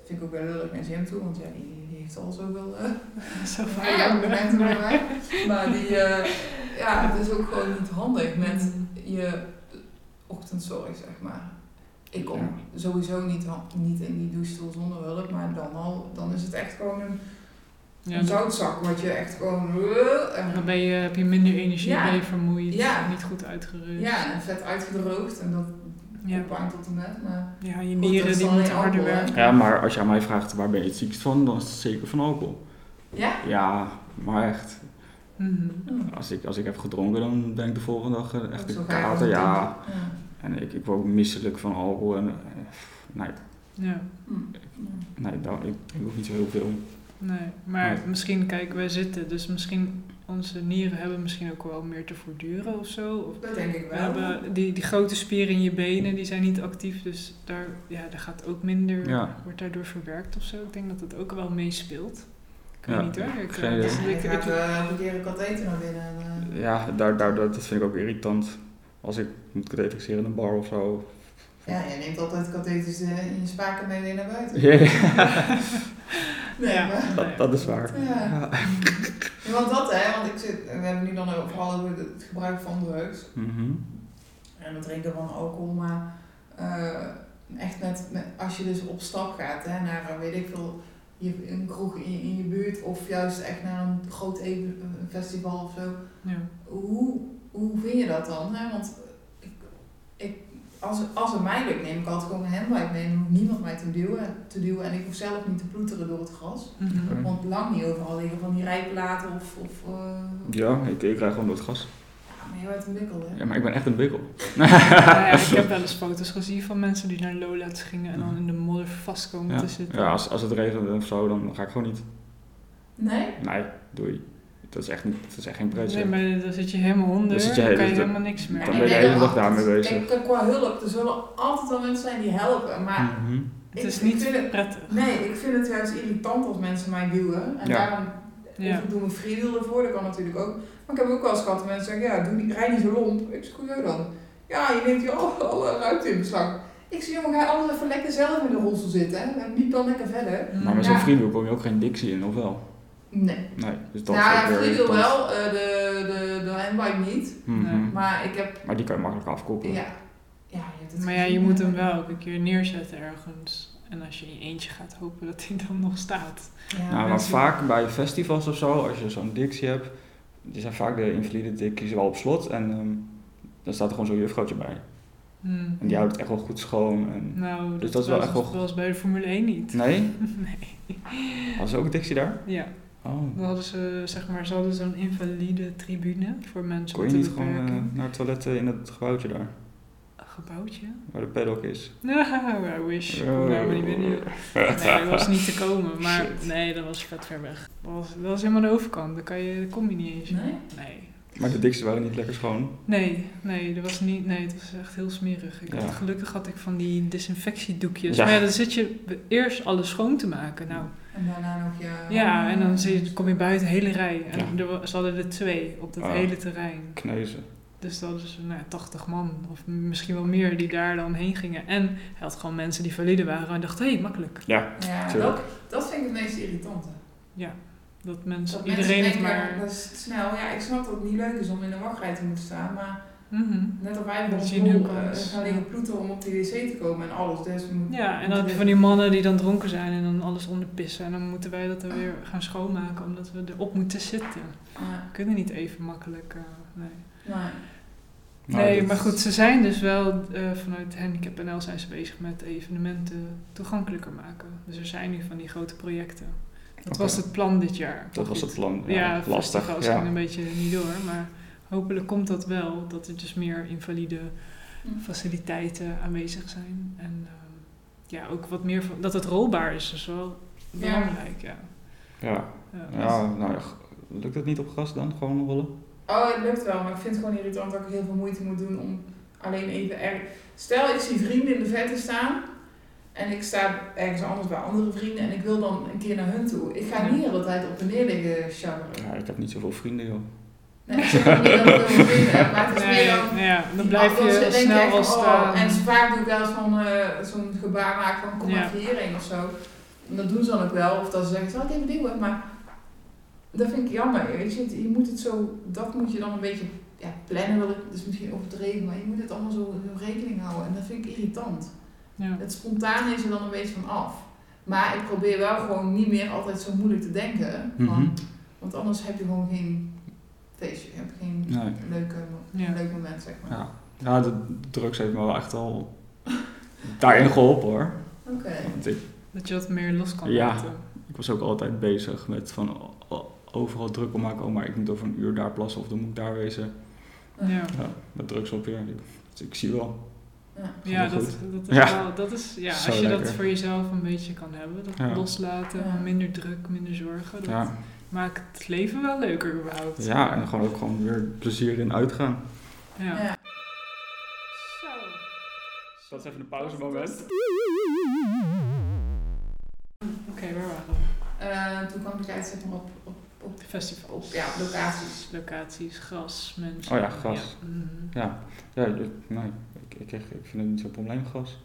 B: vind ik ook wel leuk naar Jim toe, want ja, die, die heeft al zoveel eh,
D: Zo van...
B: ja, momenten bij mij. Maar die, eh, ja, het is ook gewoon niet handig met
D: Mhm.
B: je ochtendzorg, zeg maar. Ik kom sowieso niet, ha- niet in die douchestoel zonder hulp, maar dan al, dan is het echt gewoon een,
D: Ja,
B: een
D: dan-
B: zoutzak wat je echt gewoon... eh, en-
D: dan ben je, heb je minder energie,
B: Ja.
D: ben je vermoeid,
B: Ja.
D: niet goed uitgerust.
B: ja, en vet uitgedroogd en dat
D: Ja.
B: opwarmt tot en met. Maar
D: Ja, je
B: Goed, dat
D: nieren
B: is
D: die
B: dan
D: moeten
B: weer
D: harder
B: alcohol, hè?
D: werken.
A: Ja, maar als je aan mij vraagt waar ben je het ziekst van, dan is het zeker van alcohol.
B: ja,
A: Ja, maar echt.
D: Mhm.
A: Als ik, als ik heb gedronken, dan ben ik de volgende dag eh, echt
B: ook zo
A: een
B: ga je
A: kater.
B: altijd
A: Ja,
B: doen. Ja.
A: en ik, ik word ook misselijk van alcohol. En, eh, nee,
D: Ja,
B: Hm.
A: nee dat, ik drink ook niet zo heel veel.
D: nee. Maar
A: Nee.
D: misschien, kijk, wij zitten, dus misschien onze nieren hebben misschien ook wel meer te voortduren of zo. Of
B: Dat denk ik
D: we
B: wel.
D: hebben die, die grote spieren in je benen, die zijn niet actief, dus daar, ja, daar gaat ook minder,
A: Ja.
D: wordt daardoor verwerkt of zo. Ik denk dat dat ook wel meespeelt. Ik
A: Ja,
D: weet niet hoor. Ik,
A: geen
D: eh,
B: Ja,
A: idee.
D: dus
B: ik
D: ik- ik-
B: ga eh, een keer een katheter naar binnen. en, eh,
A: Ja, daar, daar, dat dat vind ik ook irritant. Als ik moet katheteriseren in een bar of zo.
B: Ja, je neemt altijd katheters eh, in je spaken mee weer naar buiten.
A: Ja,
B: Nee,
D: Ja.
B: maar-
A: dat, dat is waar.
B: Ja.
A: Ja.
B: Ja, want dat hè, want ik zit, we hebben nu dan ook vooral over het gebruik van drugs
A: Mhm.
B: en het drinken van alcohol, maar eh, echt met, met, als je dus op stap gaat hè, naar, eh, weet ik veel, je, een kroeg in, in je buurt of juist echt naar een groot even, een festival of zo,
D: ja.
B: hoe, hoe vind je dat dan? Hè? Want ik, ik, als, als het mij lukt, neem ik altijd gewoon een handbike mee. Dan hoeft niemand mij te duwen, te duwen en ik hoef zelf niet te ploeteren door het gras.
D: Mhm.
A: Oké.
B: Want lang niet overal liggen van die rijplaten of... of eh,
A: Ja, ik, ik krijg gewoon door het gas.
B: ja, maar je bent een bikkel, hè?
A: Ja, maar ik ben echt een bikkel.
D: Ja, ik heb wel eens foto's gezien van mensen die naar Lola's gingen en dan in de modder vastkomen
A: Ja,
D: te zitten.
A: ja als, als het regent of zo, dan ga ik gewoon niet.
B: Nee?
A: Nee, doei. Dat is echt, niet, dat is echt geen pretje.
D: Nee, maar dan zit je helemaal onder,
A: Dan
D: dan,
A: zit je
D: kan je
A: hele-
D: helemaal niks meer.
A: Dan ben
B: Ik
A: je de
B: denk
A: hele
B: dat
A: dag daarmee
B: altijd-
A: bezig.
B: Kijk, qua hulp, er zullen altijd wel mensen zijn die helpen. Maar
A: Mhm.
D: Het
B: ik-
D: is
B: ik
D: niet
B: vind het-
D: prettig.
B: nee, ik vind het juist irritant als mensen mij duwen. En
A: Ja.
B: daarom
D: Ja.
B: of ik doe mijn freewheel ervoor, dat kan natuurlijk ook. Maar ik heb ook wel eens gehad dat mensen zeggen, ja, doe niet, rij niet zo lomp. Ik zeg, hoezo dan? Ja, je neemt hier alle, alle ruimte in beslag. Ik zeg, jongen, ga alles even lekker zelf in de rolstoel zitten. hè. En niet dan lekker verder.
A: Maar met
B: Ja.
A: zo'n vrienden kom je ook geen dictie in, of wel?
B: Nee.
A: Nee, dus dat
B: Nou
A: is ook
B: ja,
A: weer
B: freewheel
A: irritant.
B: wel, eh, de, de, de handbike niet.
A: Mhm.
D: Nee.
B: Maar ik heb,
A: Maar die kan je makkelijk afkoppelen.
B: ja. ja je hebt het
D: Maar ja, je
B: gezien, eh,
D: moet
B: hè.
D: hem wel ook een keer neerzetten ergens. En als je in je eentje gaat hopen dat hij dan nog staat.
B: Ja.
A: nou, maar
D: mensen-
A: vaak bij festivals of zo, als je zo'n dictie hebt, die zijn vaak de invalide dicties wel op slot. En ehm, dan staat er gewoon zo'n juffrouwtje bij.
D: Hm.
A: En die houdt het echt wel goed schoon. En...
D: Nou, dat, was
A: Dus dat is wel echt wel-
D: zoals bij de Formule 1 niet.
A: Nee?
D: Nee.
A: Hadden ze ook een dictie daar?
D: Ja,
A: Oh.
D: dan hadden ze, zeg maar, ze hadden zo'n invalide tribune voor mensen
A: Kon
D: met
A: je
D: een
A: niet gewoon eh,
D: beperking.
A: naar het toilet eh, in dat gebouwtje daar,
D: Een gebouwtje?
A: waar de paddock is?
D: Nou, I wish. Ik kom daar maar niet binnen. Nee, dat was niet te komen, maar nee, dat was vet ver weg. Dat was, dat was helemaal de overkant, daar, kan je, daar kom je niet eens.
B: Nee?
D: Nee.
A: Maar de dicties waren niet lekker schoon.
D: Nee, nee, dat was niet, nee, het was echt heel smerig. Ik
A: Ja.
D: had, gelukkig had ik van die desinfectiedoekjes.
A: Ja.
D: Maar ja, dan zit je eerst alles schoon te maken. Nou,
B: En daarna nog je...
D: ja, en dan zie je, kom je buiten een hele rij. En
A: Ja.
D: er, wa- ze hadden er twee op dat
A: Ah.
D: hele terrein.
A: Kneuzen.
D: Dus dat is nou, 80 man, of misschien wel meer, die daar dan heen gingen. En hij had gewoon mensen die valide waren en dacht, hé, hey, makkelijk.
A: Ja.
B: Ja, dat,
A: Tuurlijk.
B: dat vind ik het meest irritante.
D: Dat mensen,
B: Dat
D: Dus iedereen
B: mensen denken,
D: het maar...
B: dat is snel. Ja, ik snap dat het niet leuk is om in de wachtrij te moeten staan, maar
D: Mhm.
B: Net als wij bij
D: Dat
B: ons
D: je nu
B: dronken,
D: kan.
B: eh, gaan liggen ploeten om op de wc te komen en alles. Dus we moeten-
D: Ja, en dan heb je van die mannen die dan dronken zijn en dan alles onderpissen. En dan moeten wij dat dan weer gaan schoonmaken omdat we erop moeten zitten.
B: Ja,
D: We kunnen niet even makkelijk. eh, nee,
B: maar
A: Nou,
D: nee
A: dat-
D: maar goed, ze zijn dus wel eh, vanuit Handicap NL zijn ze bezig met evenementen toegankelijker maken. Dus er zijn nu van die grote projecten. Dat
A: Oké.
D: was het plan dit jaar.
A: Dat was het plan. Ja,
D: Ja,
A: lastig.
D: Als ging
A: Ja.
D: een beetje niet door, maar hopelijk komt dat wel. Dat er dus meer invalide
B: Mm.
D: faciliteiten aanwezig zijn. En ehm, ja, ook wat meer van, dat het rolbaar is, is wel
B: Ja.
D: belangrijk. Ja.
A: Ja.
D: Ja.
A: ja, nou ja, g- lukt het niet op gras dan? Gewoon rollen?
B: Oh, het lukt wel, maar ik vind het gewoon irritant dat ik heel veel moeite moet doen om alleen even erg. Stel, ik zie vrienden in de verte staan en ik sta ergens anders bij andere vrienden en ik wil dan een keer naar hun toe. Ik ga
D: Ja.
B: niet de hele tijd op en neer liggen sjouweren.
A: Ja, ik heb niet zoveel vrienden, joh.
B: Nee, ik zeg ook niet dat ik heel veel vrienden heb, maar het is
D: Nee,
B: meer dan...
D: nou ja, dan
B: die
D: blijf
B: anderen
D: je
B: denken
D: snel
B: echt
D: al
B: van, oh,
D: staan.
B: En vaak doe ik wel eens van, eh, zo'n gebaar maken van kom
D: Ja.
B: maar even hierheen of zo. En dat doen ze dan ook wel. Of dat ze zeggen, zal ik even duwen? Maar dat vind ik jammer. Weet je, je moet het zo, dat moet je dan een beetje ja, plannen. Wil ik, dat is misschien overdreven, maar je moet het allemaal zo, zo rekening houden. En dat vind ik irritant.
D: ja.
B: Het spontane is er dan een beetje van af. Maar ik probeer wel gewoon niet meer altijd zo moeilijk te denken. Van,
A: Mhm.
B: Want anders heb je gewoon geen feestje. Je hebt geen
A: Nee.
B: leuke,
D: Ja.
B: leuk moment, zeg maar.
A: Ja, ja de drugs heeft me wel echt al daarin geholpen hoor.
B: Oké.
A: Want ik,
D: Dat je wat meer los kan
A: Ja.
D: laten.
A: ik was ook altijd bezig met van o- o- overal druk om maken. Oh, maar ik moet over een uur daar plassen of dan moet ik daar wezen.
D: Ja,
A: Ja, dat drugs op weer. Dus ik zie wel.
D: ja,
A: Goed.
D: dat, dat is
A: Ja.
D: wel... Dat is, ja,
A: Zo
D: als je dat
A: lekker.
D: voor jezelf een beetje kan hebben, dat
A: Ja.
D: loslaten,
B: Ja.
D: minder druk, minder zorgen, dat
A: Ja,
D: maakt het leven wel leuker überhaupt.
A: ja en gewoon ook gewoon weer plezier in uitgaan.
D: Ja.
B: Ja.
D: Zo.
A: Dat is even een pauzemoment.
D: Oké, waar waren we?
B: Eh, toen kwam ik uit zeg maar, op, op, op
D: Festivals.
B: ja, locaties.
D: Locaties, gras, mensen.
A: Oh ja, gras.
D: Ja. mhm.
A: Ja, ik- nee, ik, ik, ik vind het niet zo'n probleem, gas.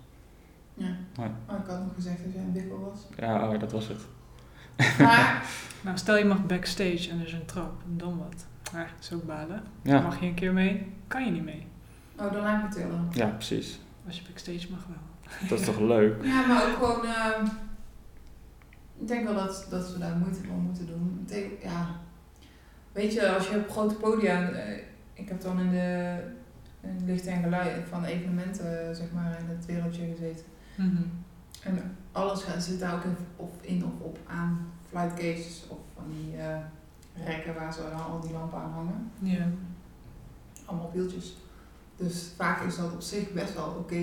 B: Ja.
A: Hoi.
B: Maar oh, ik had nog gezegd dat jij een wikkel was.
A: Ja, oh, dat was het.
B: Maar
D: Nou, stel je mag backstage en er is een trap, en dan wat? Maar dat is ook balen.
A: Ja,
D: Mag je een keer mee? Kan je niet mee.
B: oh, dan laat ik me tillen.
A: ja precies.
D: Als je backstage mag wel.
A: Dat is toch leuk?
B: Ja, maar ook gewoon. eh, ik denk wel dat, dat we daar moeite voor moeten doen. Ik denk- Ja. Weet je, als je op grote podia. eh, ik heb dan in de in het licht en geluid van evenementen, zeg maar, in het wereldje gezeten.
D: Mhm.
B: En alles gaat- zit daar ook in of, in of op aan. Flightcases of van die eh, rekken waar ze dan al die lampen aan hangen.
D: Ja.
B: allemaal wieltjes. Dus vaak is dat op zich best wel oké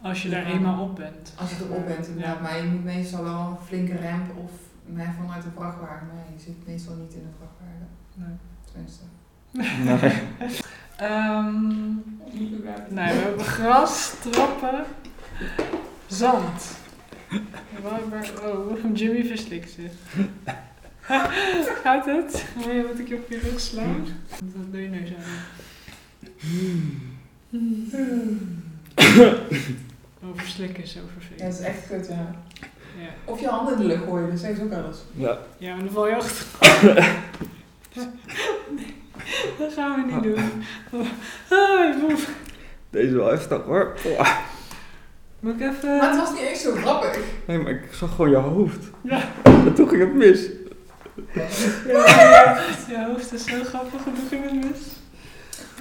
D: Als je daar
B: Ja.
D: eenmaal op bent.
B: als je erop bent inderdaad.
D: Ja.
B: Maar je moet meestal wel een flinke ramp of nee, vanuit een vrachtwagen. Maar je zit meestal niet in een vrachtwagen.
D: Nee.
B: Tenminste.
A: Nee.
D: Ehm, nee, we hebben gras, trappen, zand. Waar, waar- oh, Jimmy verslikt zich. Gaat het? Wil je dat ik je op je rug sla? Dat doe je neus aan. Over Oh, verslikken is zo
B: Ja, dat
D: vervelend.
B: is echt kut, ja.
D: Ja.
B: Of je handen in de lucht gooien, dat zeggen ze ook wel eens.
A: Ja.
D: Ja, maar dan val je achter. nee, dat gaan we niet doen. Ah, boef.
A: Deze is wel heftig hoor. Oeh.
D: Moet ik
B: Maar het
D: even...
B: was niet eens zo grappig.
A: Nee, maar ik zag gewoon je hoofd.
D: Ja.
A: En toen ging het mis.
D: Ja, je hoofd is zo grappig, hoe ging het mis?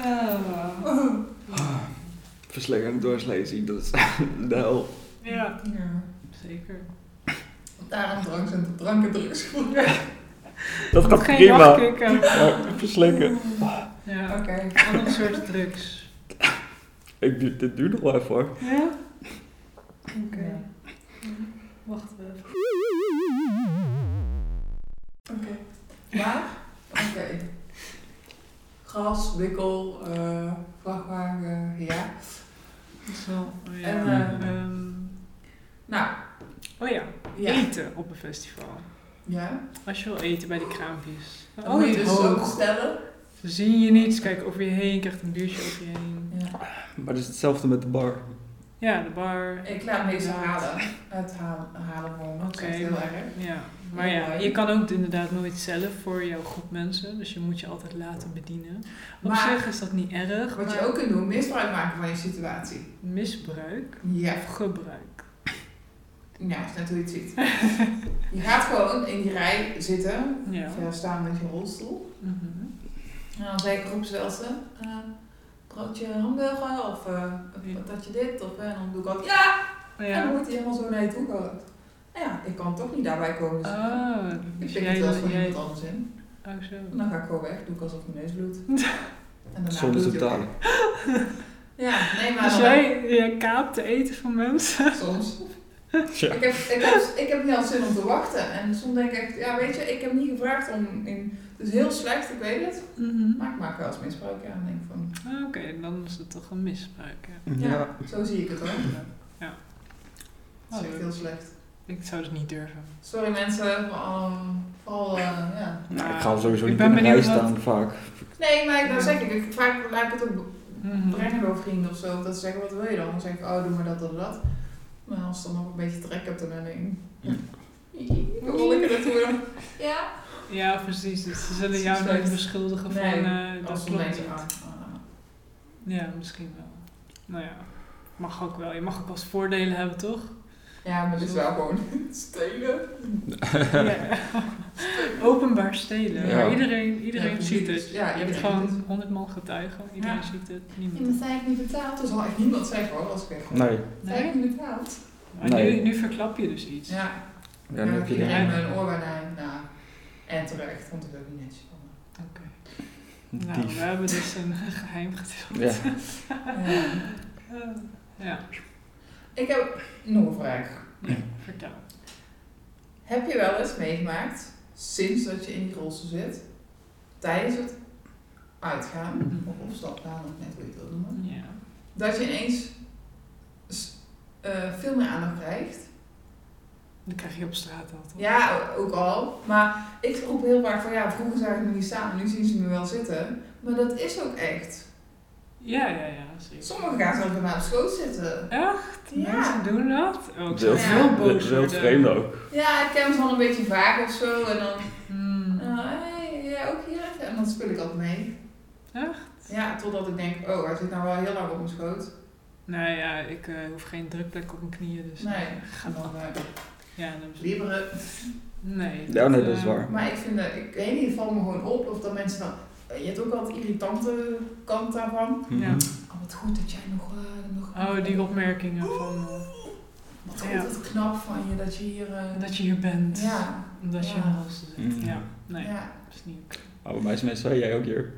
D: Ah.
A: Verslekkend doorslezing, dat is de hel.
D: Ja,
B: Ja.
D: zeker.
B: Daarom drank zijn tot drank en drugs gebruikt.
A: Dat gaat
D: Geen eh.
A: prima.
D: nachtkikken.
A: Ja, verslikken.
D: Ja,
B: Oké.
D: andere soort drugs.
A: Ik, du- dit duurt nog wel even hoor.
D: Ja? Oké.
B: Ja.
D: Wacht even.
B: Oké. Maar? Oké. Gras, wikkel, eh, vrachtwagen, ja.
D: Dat is wel... oh ja.
B: En, eh,
D: Ehm,
B: Nou,
D: oh ja,
B: ja.
D: eten op een festival.
B: Ja.
D: Als je wil eten bij de kraampjes.
B: Dan moet je dus zo
D: hoog.
B: bestellen.
D: Ze zien je niet, ze kijken over je heen, je krijgt een biertje over je heen.
B: Ja.
A: Maar het is hetzelfde met de bar.
D: Ja, de bar.
B: Ik laat meestal
D: Ja.
B: halen. Het halen, halen van me. Oké.
D: Oké.
B: Heel erg.
D: Ja, maar ja, je kan ook inderdaad nooit zelf voor jouw groep mensen. Dus je moet je altijd laten bedienen. Op
B: Maar-
D: zich is dat niet erg.
B: Wat je
D: maar
B: ook kunt doen, misbruik maken van je situatie.
D: Misbruik
B: Ja.
D: of gebruik.
B: Ja, dat is net hoe je het ziet. je gaat gewoon in die rij zitten.
D: Ja.
B: Of ja, staan met je rolstoel.
D: Mhm.
B: En dan zei ik roep ze, eh broodje hamburger of eh,
D: Ja.
B: patatje dit. Of, eh, en dan doe ik altijd ja. En
D: ja.
B: dan moet hij helemaal zo naar je toe komen. Nou ja, ik kan toch niet daarbij komen. Dus
D: Oh,
B: ik
D: dus
B: pik het
D: jij...
B: wel eens van
D: jij
B: iemand anders in.
D: oh, zo.
B: En dan ga ik gewoon weg, doe ik alsof mijn neus bloedt. En daarna
A: Zonder te
B: bloedt hij ook.
A: betalen.
B: Ja, nee, maar
D: Dus
B: dan-
D: jij, jij kaapt de eten van mensen?
B: soms.
A: Tja.
B: Ik, heb, ik, heb, ik heb niet al zin om te wachten. En soms denk ik echt, ja, weet je, ik heb niet gevraagd om. In, het is heel slecht, ik weet het.
D: Mhm.
B: Maar ik maak wel eens misbruik aan. En denk van,
D: Ah, Oké, dan is het toch een misbruik. Ja.
B: ja, zo zie ik het hoor. Dat is echt
D: Oh,
B: heel slecht.
D: ik zou het niet durven.
B: Sorry mensen, voor al. Vooral, eh, ja.
A: Nou, ik ga sowieso
D: Ik
A: niet
D: ben
A: in de rij
D: benieuwd wat-
A: staan vaak.
B: Nee, maar dan zeg ik, ik vaak laat ik het ook
D: Mhm.
B: brengen door vrienden of zo. Of dat ze zeggen, wat wil je dan? Dan zeg ik, oh, doe maar dat, dat, dat. Maar als ik dan nog een beetje trek heb, dan denk ik...
A: Ja.
B: Dan rol ik er naartoe. en dan- Ja.
D: Ja, precies. Dus ze zullen
B: Precies,
D: jou nooit
B: nooit.
D: beschuldigen van
B: Nee,
D: eh,
B: Als
D: dat
B: ze dan
D: klopt
B: denken, ah,
D: niet.
B: ah.
D: Ja, misschien wel. Nou ja, mag ook wel. Je mag ook wel eens voordelen hebben, toch?
B: Ja, maar dit is wel gewoon stelen.
D: Ja. Openbaar stelen.
A: Ja.
D: waar Iedereen, iedereen
B: Ja,
D: ziet
B: precies.
D: het.
B: Ja,
D: je hebt
B: iedereen ziet
D: gewoon honderd man getuigen. Iedereen
B: Ja.
D: ziet het.
B: Ja,
D: Niemand.
B: maar zij heeft niet betaald. Dat zal echt niemand zeggen hoor, als ik echt
A: Nee.
B: Zij
D: Nee?
B: heeft niet betaald.
D: Maar
A: Nee.
D: Nu, nu verklap je dus iets.
B: Ja,
A: Ja,
B: dan
A: nu
B: heb
A: heb je de
B: iedereen
D: rem.
B: met een oor bij de heen. Nou, en terecht, want ik ook niet netjes van haar.
D: Nou, we
A: dief.
D: hebben dus een geheim gedeeld.
A: Ja.
B: Ja.
D: Eh, ja,
B: Ik heb nog een vraag.
D: ja, vertel.
B: Heb je wel eens meegemaakt, sinds dat je in die rolstoel zit, tijdens het uitgaan, of opstap gaan, of net hoe je het wil noemen,
D: Ja.
B: dat je ineens s- eh, veel meer aandacht krijgt?
D: Dan krijg je op straat altijd.
B: Ja, ook al. Maar ik roep heel vaak van ja, vroeger zag ik me niet staan, nu zien ze me wel zitten. Maar dat is ook echt.
D: Ja, ja, ja, zeker.
B: Sommigen gaan zelfs bij mij op schoot zitten.
D: Echt?
B: Ja.
D: Mensen doen dat? Oh, ik zou
B: Wild-
D: heel
A: Heel
D: boos
A: veel
D: worden.
A: vreemd ook.
B: Ja, ik ken ze al een beetje vaak of zo. En dan,
D: Hmm.
B: eh, hey, ja, ook hier. En dan speel ik altijd mee.
D: Echt?
B: Ja, totdat ik denk, oh, hij zit nou wel heel lang op mijn schoot.
D: Nou ja, ik eh, hoef geen drukplek op mijn knieën, dus...
B: Nee.
D: Ga
B: En
D: dan.
B: dan eh,
D: Ja, dan is
B: lieveren.
D: Nee.
A: Ja, nee, dat is
D: eh,
A: waar.
B: Maar ik vind, eh, ik weet niet, het valt me gewoon op. Of dat mensen dan, eh, je hebt ook wel het irritante kant daarvan.
A: Mhm.
D: Ja.
B: Oh, wat goed dat jij nog... eh, nog
D: Oh, die opmerkingen van eh,
B: Wat
D: Ja.
B: goed, wat knap van je dat je hier... eh,
D: dat je hier bent.
B: Ja,
D: Omdat je
B: Ja.
D: in de hals zit.
A: Mm.
D: Ja. Nee,
B: ja.
D: dat is niet oké.
A: Maar bij mij is mensen, hey, jij ook hier.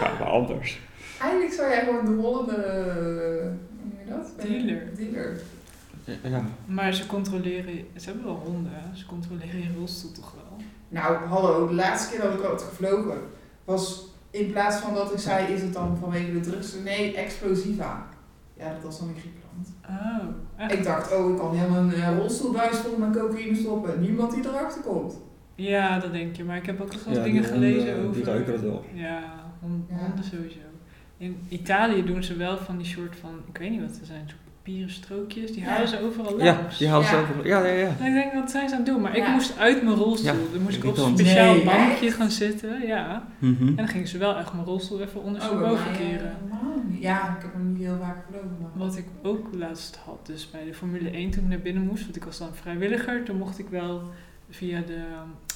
A: ja, maar anders.
B: Eigenlijk zou jij gewoon de rollende... eh, Hoe noem je dat?
D: Dealer.
B: Dealer.
A: Ja.
D: Maar ze controleren... Ze hebben wel honden, hè? Ze controleren je rolstoel toch wel?
B: Nou, hallo, de laatste keer dat ik had gevlogen was in plaats van dat ik zei, is het dan vanwege de drugs? Nee, explosiva. Ja, dat was dan in Griekenland.
D: Oh, echt?
B: Ik dacht, oh, ik kan helemaal een eh, rolstoelbuis vol met cocaïne stoppen. Niemand die erachter komt.
D: Ja, dat denk je. Maar ik heb ook nog wel
A: Ja, die
D: dingen
A: honden,
D: gelezen
A: die
D: over...
A: ruiken dat wel.
D: Ja, hon-
B: Ja.
D: honden sowieso. In Italië doen ze wel van die soort van... Ik weet niet wat ze zijn, soort papieren strookjes. Die
B: Ja.
D: halen ze overal
A: Ja,
D: langs.
A: die haalt
B: Ja.
A: zelf. Ja, ja, ja.
D: En ik denk, wat zijn ze aan het doen? Maar ik
B: Ja.
D: moest uit mijn rolstoel.
A: Ja,
D: Dan moest ik op een
A: irritant.
D: speciaal
B: Nee,
D: bankje
B: echt?
D: gaan zitten. Ja. En dan gingen ze wel echt mijn rolstoel even ondersteboven
B: bij mij, eh,
D: keren.
B: helemaal niet. Ja, ik heb hem niet heel vaak gevlogen. Maar...
D: Wat ik ook laatst had, dus bij de Formule 1 toen ik naar binnen moest, want ik was dan vrijwilliger, toen mocht ik wel via de,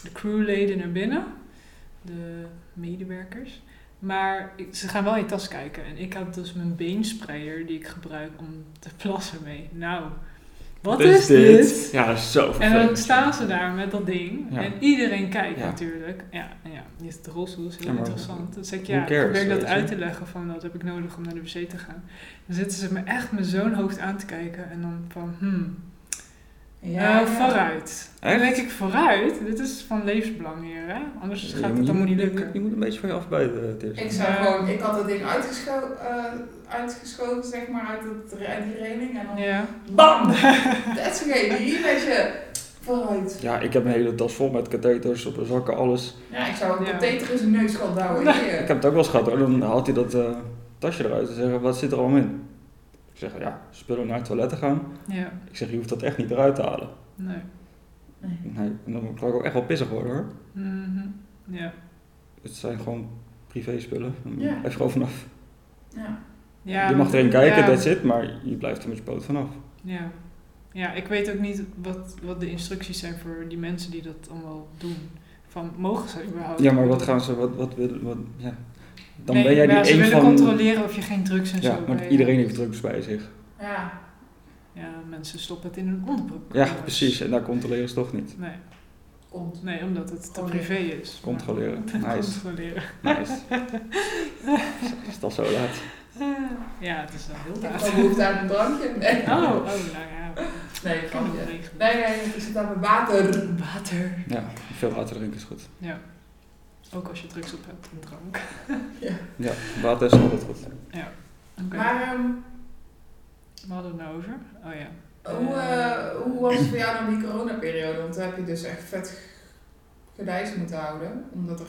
D: de crewleden naar binnen, de medewerkers. Maar ik- ze gaan wel in je tas kijken en ik had dus mijn beensprayer die ik gebruik om te plassen mee. Nou, wat is, dit?
A: Ja, dat is zo
D: En
A: vervelend.
D: dan staan ze daar met dat ding
A: Ja.
D: en iedereen kijkt
A: Ja.
D: natuurlijk. Ja, en ja, die is de rolstoel is heel
A: Ja, maar
D: interessant. Dus ik,
A: who
D: ja, ik
A: cares,
D: probeer dat
A: weet je?
D: uit te leggen van dat heb ik nodig om naar de wc te gaan. Dan zitten ze me echt met zo'n hoofd aan te kijken en dan van hmm, eh, vooruit. Dan
A: Echt?
D: denk ik vooruit, dit is van levensbelang hier hè, anders
A: Je
D: gaat
A: moet-
D: het allemaal
A: je
D: niet
A: moet-
D: lukken.
A: Je moet een beetje van je afbijten, eh, Tis.
B: Ik zou
D: Ja.
B: gewoon, ik had dat ding uitgescho eh, uitgeschoten, zeg maar, uit het, uit die reling. En dan
D: Ja.
B: BAM! That's okay, hier met je vooruit.
A: Ja, ik heb een hele tas vol met katheters, op zakken, alles.
B: Ja, ik zou een
D: Ja.
B: katheter in zijn neus gaan douwen.
A: Ik
B: Hier.
A: heb het ook wel eens gehad hoor. Dan haalt hij dat eh, tasje eruit en zegt, wat zit er allemaal in? Ik zeg, ja, spullen om naar het toilet te gaan.
D: ja,
A: Ik zeg, je hoeft dat echt niet eruit te halen.
D: nee.
B: Nee.
A: Nee, en dan kan ik ook echt wel pissig worden hoor.
D: Mhm. Ja.
A: Het zijn gewoon privé spullen.
B: Ja.
A: Blijf er gewoon vanaf.
B: Ja.
D: Ja,
A: je mag erin kijken,
D: ja.
A: dat zit, maar je blijft er met je poot vanaf.
D: Ja. ja, ik weet ook niet wat, wat de instructies zijn voor die mensen die dat allemaal doen. Van, mogen ze überhaupt?
A: Ja, maar wat gaan ze, wat, wat willen, wat, ja. Dan
D: Nee,
A: ben jij
D: maar
A: niet
D: ze
A: één
D: willen
A: van...
D: controleren of je geen drugs en
A: Ja,
D: zo
A: want
D: bij- eh,
A: iedereen heeft drugs bij zich.
B: Ja.
D: Ja, mensen stoppen het in hun onderbroek.
A: Ja, precies. En daar controleren ze toch niet.
D: Nee,
B: Komt.
D: nee omdat het te
B: Controleren.
D: privé is. Maar-
A: Controleren. Nice.
D: Controleren.
A: Nice. is het al zo laat?
D: Ja, het is wel heel
B: Ik heb
D: laat.
B: wel behoefte aan een drankje. Nee,
D: Oh, oh, nou ja.
B: nee,
D: Ik kan het
B: grapje.
D: wel
B: Nee,
D: regelen.
B: nee, ik zit aan mijn water.
D: Water.
A: Ja, veel water drinken is goed.
D: Ja. Ook als je drugs op hebt, een drank. Oké.
A: Ja, water is altijd goed.
B: Maar ehm,
D: We hadden het nou over. Oh ja.
B: hoe, eh, hoe was het voor jou dan die coronaperiode? Want daar heb je dus echt vet gedijs moeten houden. Omdat er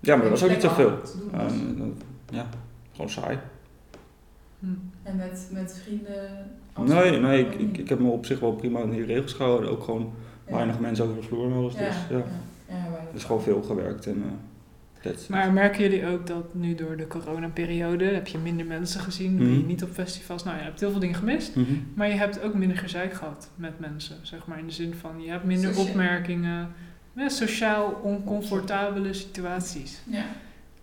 A: Ja, maar dat was ook niet
B: plek
A: zoveel.
B: aan te doen was.
A: Ehm, dat- ja, gewoon saai.
D: Hm.
B: En met, met vrienden?
A: Nee,
B: afspreken?
A: nee ik, ik, ik heb me op zich wel prima aan die regels gehouden. Ook gewoon weinig mensen over de vloer en alles.
B: Ja,
A: Dus ja,
B: ja, ja, wij
A: er is gewoon veel gewerkt. En, eh, Dat is-
D: Maar merken jullie ook dat nu door de coronaperiode heb je minder mensen gezien, ben je
A: Mhm.
D: niet op festivals, nou je hebt heel veel dingen gemist,
A: Mhm.
D: maar je hebt ook minder gezeik gehad met mensen, zeg maar in de zin van je hebt minder
B: Socia-
D: opmerkingen, ja, sociaal oncomfortabele situaties.
B: Ja.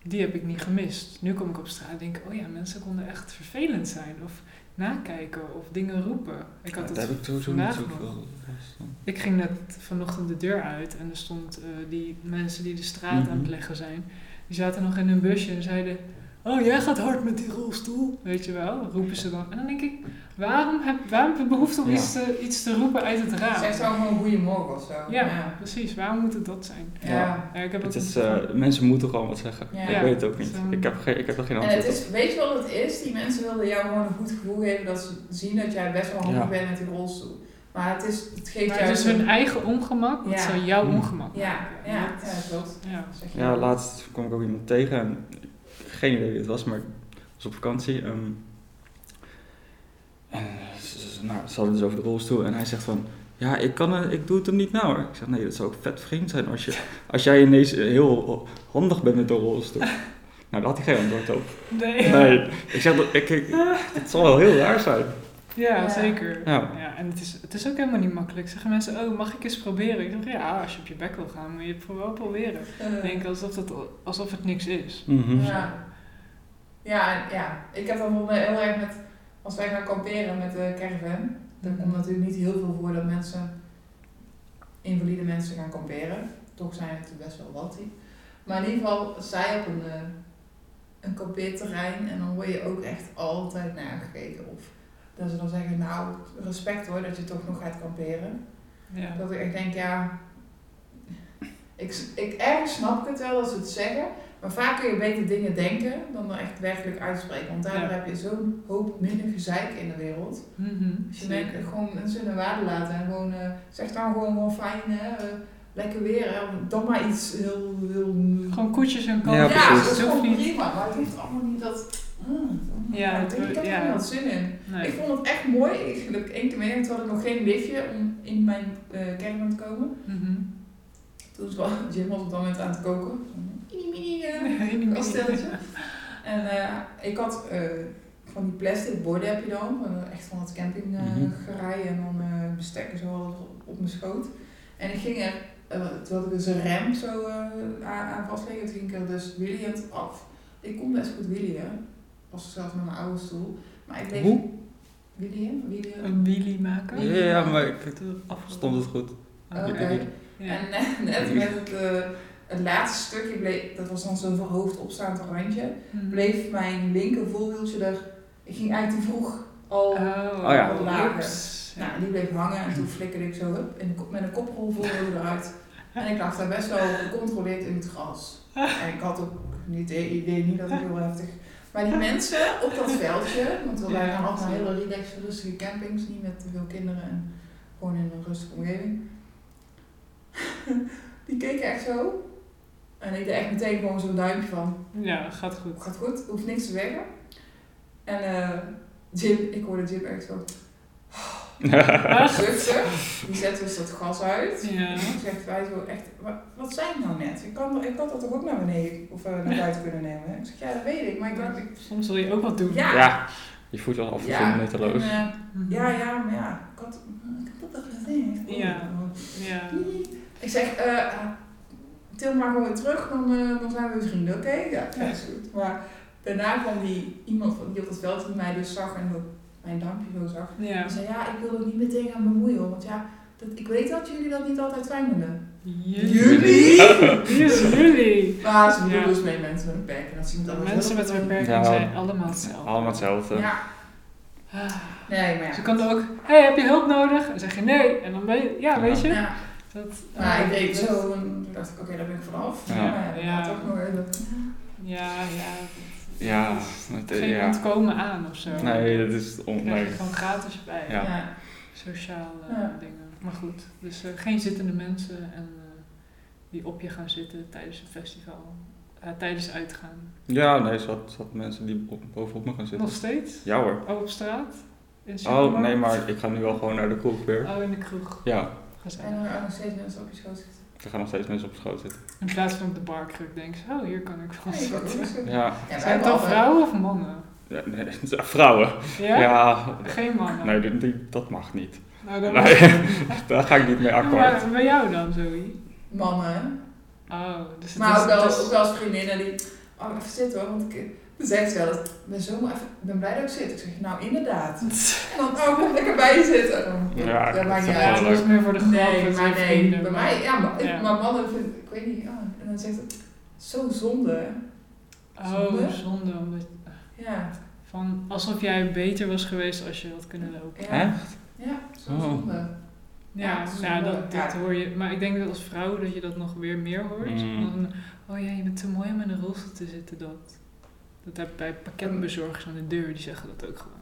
D: Die heb ik niet gemist. Nu kom ik op straat en denk, oh ja, mensen konden echt vervelend zijn of nakijken of dingen roepen. Ik had
A: Ja,
D: het
A: daar heb ik sowieso niet
D: vandaag
A: zoveel
D: nog.
A: last van.
D: Ik ging net vanochtend de deur uit en er stond eh, die mensen die de straat aan het
A: Mhm.
D: leggen zijn. Die zaten nog in hun busje en zeiden, oh jij gaat hard met die rolstoel. Weet je wel, roepen ze dan. En dan denk ik, waarom heb, waarom heb je behoefte om
A: Ja.
D: iets, te, iets te roepen uit het raam?
B: Zijn ze ook gewoon goeiemorgen of zo?
D: Ja,
B: Ja.
D: precies. Waarom moet het dat zijn?
B: Ja.
A: Ja.
D: Ja, ik heb ook
A: Het is,
D: een-
A: eh, mensen moeten gewoon wat zeggen.
B: Ja. eh,
A: Ik weet het ook
D: Ja, het
A: niet.
D: is, ehm,
A: Ik heb, geen, ik heb er geen
B: En
A: antwoord
B: het
A: op.
B: is, weet je wat het is? Die mensen wilden jou gewoon een goed gevoel geven dat ze zien dat jij best wel handig
A: Ja.
B: bent met die rolstoel. Maar het, is, het geeft
D: maar
B: jou...
D: het is hun eigen ongemak, wat
B: Ja.
D: zou jouw
A: Mm.
D: ongemak
B: Ja,
D: maken.
B: ja,
D: En
B: ja,
D: dat-
B: klopt.
D: ja.
B: Zeg je
A: Ja,
B: wel.
A: laatst kwam ik ook iemand tegen. En geen idee wie het was, maar ik was op vakantie. ehm, en ze, ze- nou, ze hadden het dus over de rolstoel. En hij zegt van, ja, ik, kan, het- ik doe het hem niet nou hoor. Ik zeg, nee, dat zou ook vet vreemd zijn als, je, als jij ineens heel handig bent met de rolstoel. Nou, daar had hij geen antwoord op.
D: Nee.
A: Nee, ik zeg, dat- ik, ik, het zal wel heel raar zijn.
D: Ja,
B: Ja.
D: zeker. Ja.
A: Ja.
D: en het is, het is ook helemaal niet makkelijk. Zeggen mensen, oh, mag ik eens proberen? Ik zeg, ja, als je op je bek wil gaan, moet je het wel proberen. Ik
B: Eh,
D: denk alsof, dat, alsof het niks is.
A: Mhm.
B: Ja. Ja, en- ja, ik heb dan bijvoorbeeld heel erg met, als wij gaan kamperen met de caravan, dan komt natuurlijk niet heel veel voor dat mensen, invalide mensen gaan kamperen. Toch zijn het er best wel wat die. Maar in ieder geval, zij op een, eh, een kampeerterrein en dan word je ook echt altijd nagekeken. Of dat ze dan zeggen, nou, respect hoor, dat je toch nog gaat kamperen.
D: Ja.
B: Dat ik echt denk, ja. Ik, ik ergens snap ik het wel als ze het zeggen. Maar vaak kun je beter dingen denken dan er echt werkelijk uitspreken. Want daardoor
D: Ja.
B: heb je zo'n hoop minder gezeik in de wereld.
D: Mhm,
B: Als je
D: zeker.
B: merkt, gewoon mensen hun waarde laten. En gewoon, eh, zeg dan gewoon wel fijn, hè, eh, lekker weer. Hè, dan maar iets heel... heel...
D: Gewoon koetjes en
A: Ja,
D: kalfjes.
B: ja,
A: precies.
B: dat is
D: Het hoeft
B: gewoon
D: niet.
B: prima. Maar het heeft allemaal niet dat... Mm,
D: Ja,
B: ik
D: het
B: denk, ik
D: wordt-
B: heb
D: ja.
B: er niet wat zin in.
D: Nee.
B: Ik vond het echt mooi. Ik, dat ik één keer mee toen had ik nog geen liftje om in mijn eh caravan te komen.
D: Mhm.
B: Toen was Jim was op dat moment aan het koken. Mini, mini, eh,
D: Nee, niet meer.
B: kasteeltje. En eh, ik had eh, van die plastic borden heb je dan. eh, Echt van het
A: Mhm.
B: campinggerij en dan eh bestek en zo alles op- op mijn schoot. En ik ging er, eh, toen had ik dus een rem zo eh, aan, aan vastleggen. Toen ging ik er dus williend af. Ik kon best goed willen, als zelfs met mijn oude stoel. Maar ik bleef...
A: Hoe?
B: Willen, willen.
D: Een wheelie maken.
A: Ja, ja, maar ik,
D: Toen-
A: stond het goed.
D: Oh,
B: Oké.
A: Ja.
D: Ja.
B: En net, net met het, eh, het laatste stukje, bleef, dat was dan zo'n verhoofd opstaand randje,
D: Mhm.
B: bleef mijn linker voorwieltje er. Ik ging eigenlijk te vroeg al.
D: Oh,
A: Oh ja.
D: al lager. Oeps. Ja.
B: Nou, die bleef hangen en toen flikkerde ik zo hup, in de kop- met een koprol voorwiel eruit. En ik lag daar best wel gecontroleerd in het gras. En ik had ook niet het idee niet dat ik heel heftig. Maar die mensen op dat veldje, want we
D: Ja,
B: waren allemaal
D: zo.
B: hele relaxed, rustige campings, niet met te veel kinderen en gewoon in een rustige omgeving. die keken echt zo. En ik deed echt meteen gewoon zo'n duimpje van,
D: ja, gaat goed.
B: gaat goed, hoeft niks te zeggen. En eh, Jim, ik hoorde Jim echt zo zuchten. Die zetten dus dat gas uit.
D: Ah, Ja.
B: Ik zeg, wij zo echt, wa- wat zei ik nou net? Ik, kan, ik had dat toch ook naar beneden of eh, naar buiten kunnen nemen? hè?" Ik zeg, ja, dat weet ik, maar ik dacht, ik-
D: Soms wil je ook wat doen.
B: ja.
A: Ja, je voelt wel af en toe
B: Ja,
A: nutteloos.
B: en, eh,
D: Mhm.
B: ja, ja, maar ja, ik had, ik had dat toch gezien.
D: Ja. Ja.
B: Ik zeg, eh til maar gewoon weer terug, dan, eh, dan zijn we weer vrienden, oké? Ja, ja, is goed. Maar daarna kwam die iemand van- die op het veld die mij dus zag en ook mijn dampje zo zag.
D: Ja.
B: En zei, ja, ik wil er niet meteen aan bemoeien, hoor, want ja, dat, ik weet dat jullie dat niet altijd fijn vinden. Dus
D: Jullie? Yes, jullie.
B: Maar ze bedoelen
D: Ja.
B: dus mee mensen met een pek. En dat zien we dan
D: Mensen met een beperking
A: Ja.
D: zijn allemaal hetzelfde.
A: Allemaal hetzelfde.
B: Ja,
D: Ah,
B: nee, maar ja.
D: Ze kan ook, hey, heb je hulp nodig? En dan zeg je nee. En dan ben je, ja,
A: Ja.
D: weet je.
B: Ja.
D: Dat,
B: Maar
D: eh,
B: ik deed
D: dat-
B: zo en toen dacht ik, oké, daar ben ik vanaf.
A: Ja.
B: Maar ja,
D: Ja.
B: dat had ook nog even.
D: Ja, ja.
A: Ja,
D: dat is
A: het-
D: geen
A: ja.
D: ontkomen aan of zo.
A: Nee, dat is on-
D: Dan krijg
A: nee.
D: je gewoon gratis bij.
A: Ja.
B: Ja.
D: Sociale
B: Ja.
D: dingen. Maar goed, dus eh, geen zittende mensen en eh, die op je gaan zitten tijdens een festival. eh, tijdens uitgaan.
A: Ja, nee, zat, zat mensen die bo- bovenop me gaan zitten.
D: Nog steeds?
A: Ja hoor.
D: Oh, op straat? In de
A: Oh,
D: supermarkt?
A: nee, maar ik ga nu wel gewoon naar de kroeg weer.
D: Oh, in de kroeg.
A: Ja,
D: Gezellig.
B: En er waren nog steeds mensen op je schoot zitten.
A: Er gaan nog steeds mensen op schoot zitten.
D: In plaats van op de barkruk denken ze, oh, hier kan ik van
B: Nee, ik ook
D: zitten.
B: niet zo.
A: Ja,
B: Ja, wij
D: Zijn het dan
B: hebben
D: vrouwen of mannen?
A: Ja, nee, het zijn vrouwen.
D: Ja?
A: Ja,
D: Geen mannen?
A: nee, die- die- dat mag niet.
D: Nou, dan
A: Nee, daar ga ik niet mee akkoord.
D: Maar bij jou dan, Zoe?
B: Mannen.
D: Oh, dus het
B: Maar
D: is...
B: ook wel,
D: het is-
B: ook wel eens vriendinnen die... Oh, even zitten hoor, want ik... Dan zegt ze wel eens, ik ben, zo maar even, ik ben blij dat ik zit. Ik zeg, nou inderdaad. En dan, oh, kom lekker bij je zitten.
A: Ja,
B: dat
A: dat
B: maakt niet
A: is
D: Ja,
B: uit.
A: wel
D: het is meer voor de grap.
B: Nee,
D: het
B: maar
D: zijn
B: nee.
D: vrienden,
B: Bij
D: maar-
B: mij, ja, maar, ik-
D: Ja.
B: maar mannen vind ik weet niet. ah, en dan zegt het, zo zonde.
D: Oh, zonde. Omdat,
B: Ja,
D: van, alsof jij beter was geweest als je had kunnen lopen.
B: ja.
A: Echt?
B: Ja, zo
A: Oh.
B: zonde. Ja,
D: Ja, nou,
B: zonde,
D: dat, dat
B: ja.
D: hoor je. Maar ik denk dat als vrouw dat je dat nog weer meer hoort.
A: Mm.
D: Dan, oh ja, je bent te mooi om in een rolstoel te zitten. Dat, dat heb ik bij pakketbezorgers aan de deur. Die zeggen dat ook gewoon.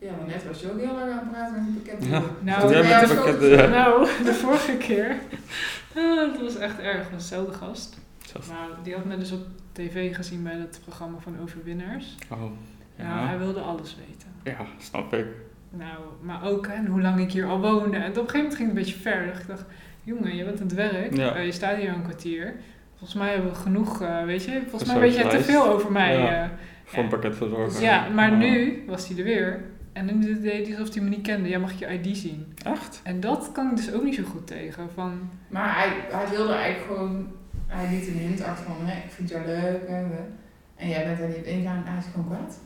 B: Ja, maar net was je ook heel lang aan het praten met een pakket.
A: Ja.
D: Nou,
A: Toen jij
D: ja,
A: met
D: zo-
A: de pakket, eh,
D: Nou, de vorige keer. ah, dat was echt erg. Dat was dezelfde gast.
A: Zelfs-
D: Maar die had me dus op tv gezien bij dat programma van Overwinnaars.
A: Oh,
D: Nou, hij
A: ja.
D: wilde alles weten.
A: Ja, snap ik.
D: Nou, maar ook hè, en hoe lang ik hier al woonde. En op een gegeven moment ging het een beetje verder. Ik dacht, jongen, je bent aan het werk.
A: Ja.
D: Eh, je staat hier al een kwartier. Volgens mij hebben we genoeg, eh, weet je. Volgens mij
A: Persoonslijst.
D: weet jij te veel over mij.
A: Ja.
D: eh.
A: Voor een pakket verzorgen. Oh.
D: ja, maar nu was hij er weer. En nu deed hij alsof hij me niet kende. Jij mag je ID zien.
A: Echt?
D: En dat kan ik dus ook niet zo goed tegen. Van,
B: Maar hij, hij wilde eigenlijk gewoon, hij liet een hint achter van, hè, ik vind jou leuk. Hè, hè. en jij bent daar niet op ingegaan, hij is gewoon kwaad.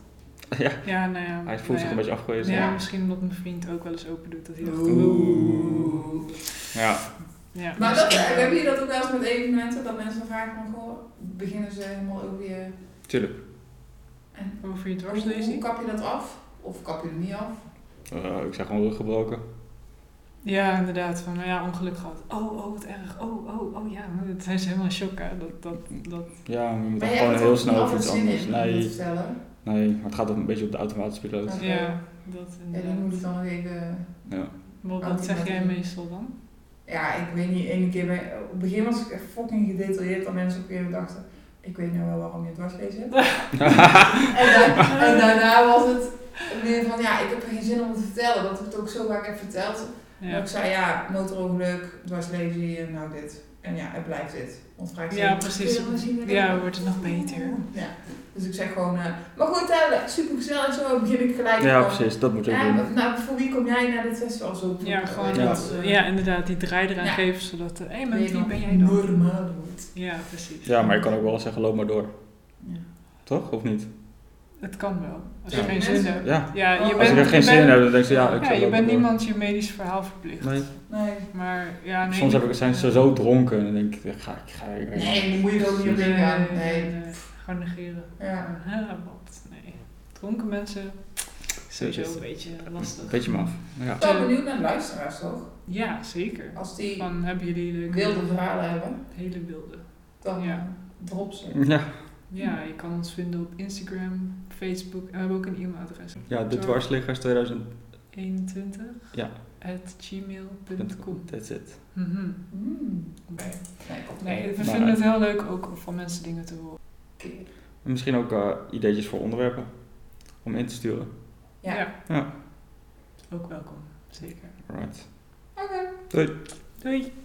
A: Ja,
D: ja, nou ja.
A: hij
D: nou
A: voelt zich
D: ja.
A: een beetje afgewezen.
D: Ja,
A: Ja.
D: misschien omdat mijn vriend ook wel eens open doet. Dat hij dacht,
A: Oeh.
D: Ja, dus
B: Maar dat,
D: misschien
B: eh,
D: wel.
B: hebben jullie dat ook wel eens met evenementen, dat mensen vragen van, goh, beginnen ze helemaal over je,
A: tuurlijk.
B: en
D: Over je
B: hoe, hoe
D: dwarslesie?
B: kap je dat af? Of kap je het niet af?
A: Eh, ik zeg gewoon rug gebroken.
D: Ja, inderdaad. Van, nou ja, ongeluk gehad. Oh, oh, wat erg. Oh, oh, oh, ja. Het zijn ze helemaal in shock, hè. Dat, dat, dat.
A: Ja, maar je moet
B: Maar jij
A: dan gewoon
B: hebt
A: heel
B: er niet
A: snel op
B: altijd
A: iets
B: zin
A: anders.
B: in, om dat te
A: Nee,
B: vertellen.
A: nee, maar het gaat een beetje op de automatische piloot.
B: Ja.
D: Ja, dat
B: En die
D: inderdaad.
B: moet ik dan nog even...
A: Ja.
D: Wat, wat zeg jij meestal dan?
B: Ja, ik weet niet, ene keer bij... Op het begin was ik echt fucking gedetailleerd dat mensen op een gegeven moment dachten... Ik weet nou wel waarom je dwarslees hebt. en, da- en daarna was het meer van, ja, ik heb er geen zin om het te vertellen. Dat ik het ook zo vaak heb verteld. En
D: Ja,
B: ik zei, ja, motorongeluk, dwarslesie en nou dit. En ja, het blijft dit. Want vraag ik
D: ja
B: ze,
D: precies.
B: "Kun je wel zien wat ik
D: Ja,
B: heb?"
D: wordt het nog beter.
B: Ja, dus ik zeg gewoon... eh, maar goed, hè, supergezellig en zo begin ik gelijk.
A: ja,
B: van,
A: precies. Dat moet je ook
B: Ja,
A: doen.
B: maar nou, voor wie kom jij naar dit festival zo? eh,
D: Ja, gewoon
A: Ja.
D: dat. Ja, inderdaad. Die draai eraan
B: Ja.
D: geven, zodat... Hé, hey,
B: Ben
D: maar
B: je
D: wie
B: nog
D: ben jij dan?
B: Normaal doet.
D: Ja, precies.
A: Ja, maar je kan ook wel zeggen, loop maar door.
B: Ja.
A: Toch? Of niet?
D: Het kan wel. Als je
A: Ja.
D: geen zin hebt.
A: Ja.
D: Ja, je
B: Als
D: bent...
A: Als ik er
D: je
A: geen zin in
D: bent-
A: heb, dan denk ik, ja, ik
D: Ja,
A: zal
D: je
A: lopen
D: bent
A: door.
D: niemand je medisch verhaal verplicht.
A: Nee.
B: Nee.
D: Maar ja, nee.
A: Soms heb ik, zijn ze zo dronken en dan denk ik, ja, ga ik, ga ik.
B: Nee, dan moet je er ook niet op
D: Nee,
B: ingaan.
D: nee,
B: Nee.
D: nee. Gewoon negeren.
B: Ja.
D: Ja, wat? Nee. Dronken mensen, sowieso een beetje lastig.
A: Een beetje maf. Ja.
B: Ik ben wel benieuwd naar de luisteraars, toch?
D: Ja, zeker.
B: Als die
D: Van, hebben jullie leuke...
B: wilde verhalen hebben,
D: Hele wilde.
B: dan
D: Ja.
B: drop ze.
A: Ja,
D: Ja, je kan ons vinden op Instagram, Facebook en we hebben ook een e-mailadres.
A: ja de dwarsliggers 2000.
D: 21
A: Ja.
D: at gmail.com
A: That's it.
D: Mhm.
B: Mm.
D: Oké.
B: Nee, komt
D: Nee, we
A: Maar-
D: vinden het heel leuk ook om van mensen dingen te horen.
B: keer.
A: En misschien ook eh, ideetjes voor onderwerpen. Om in te sturen.
B: Ja.
A: Ja.
D: Ook welkom, zeker.
A: Alright.
B: Oké.
A: Doei.
D: Doei!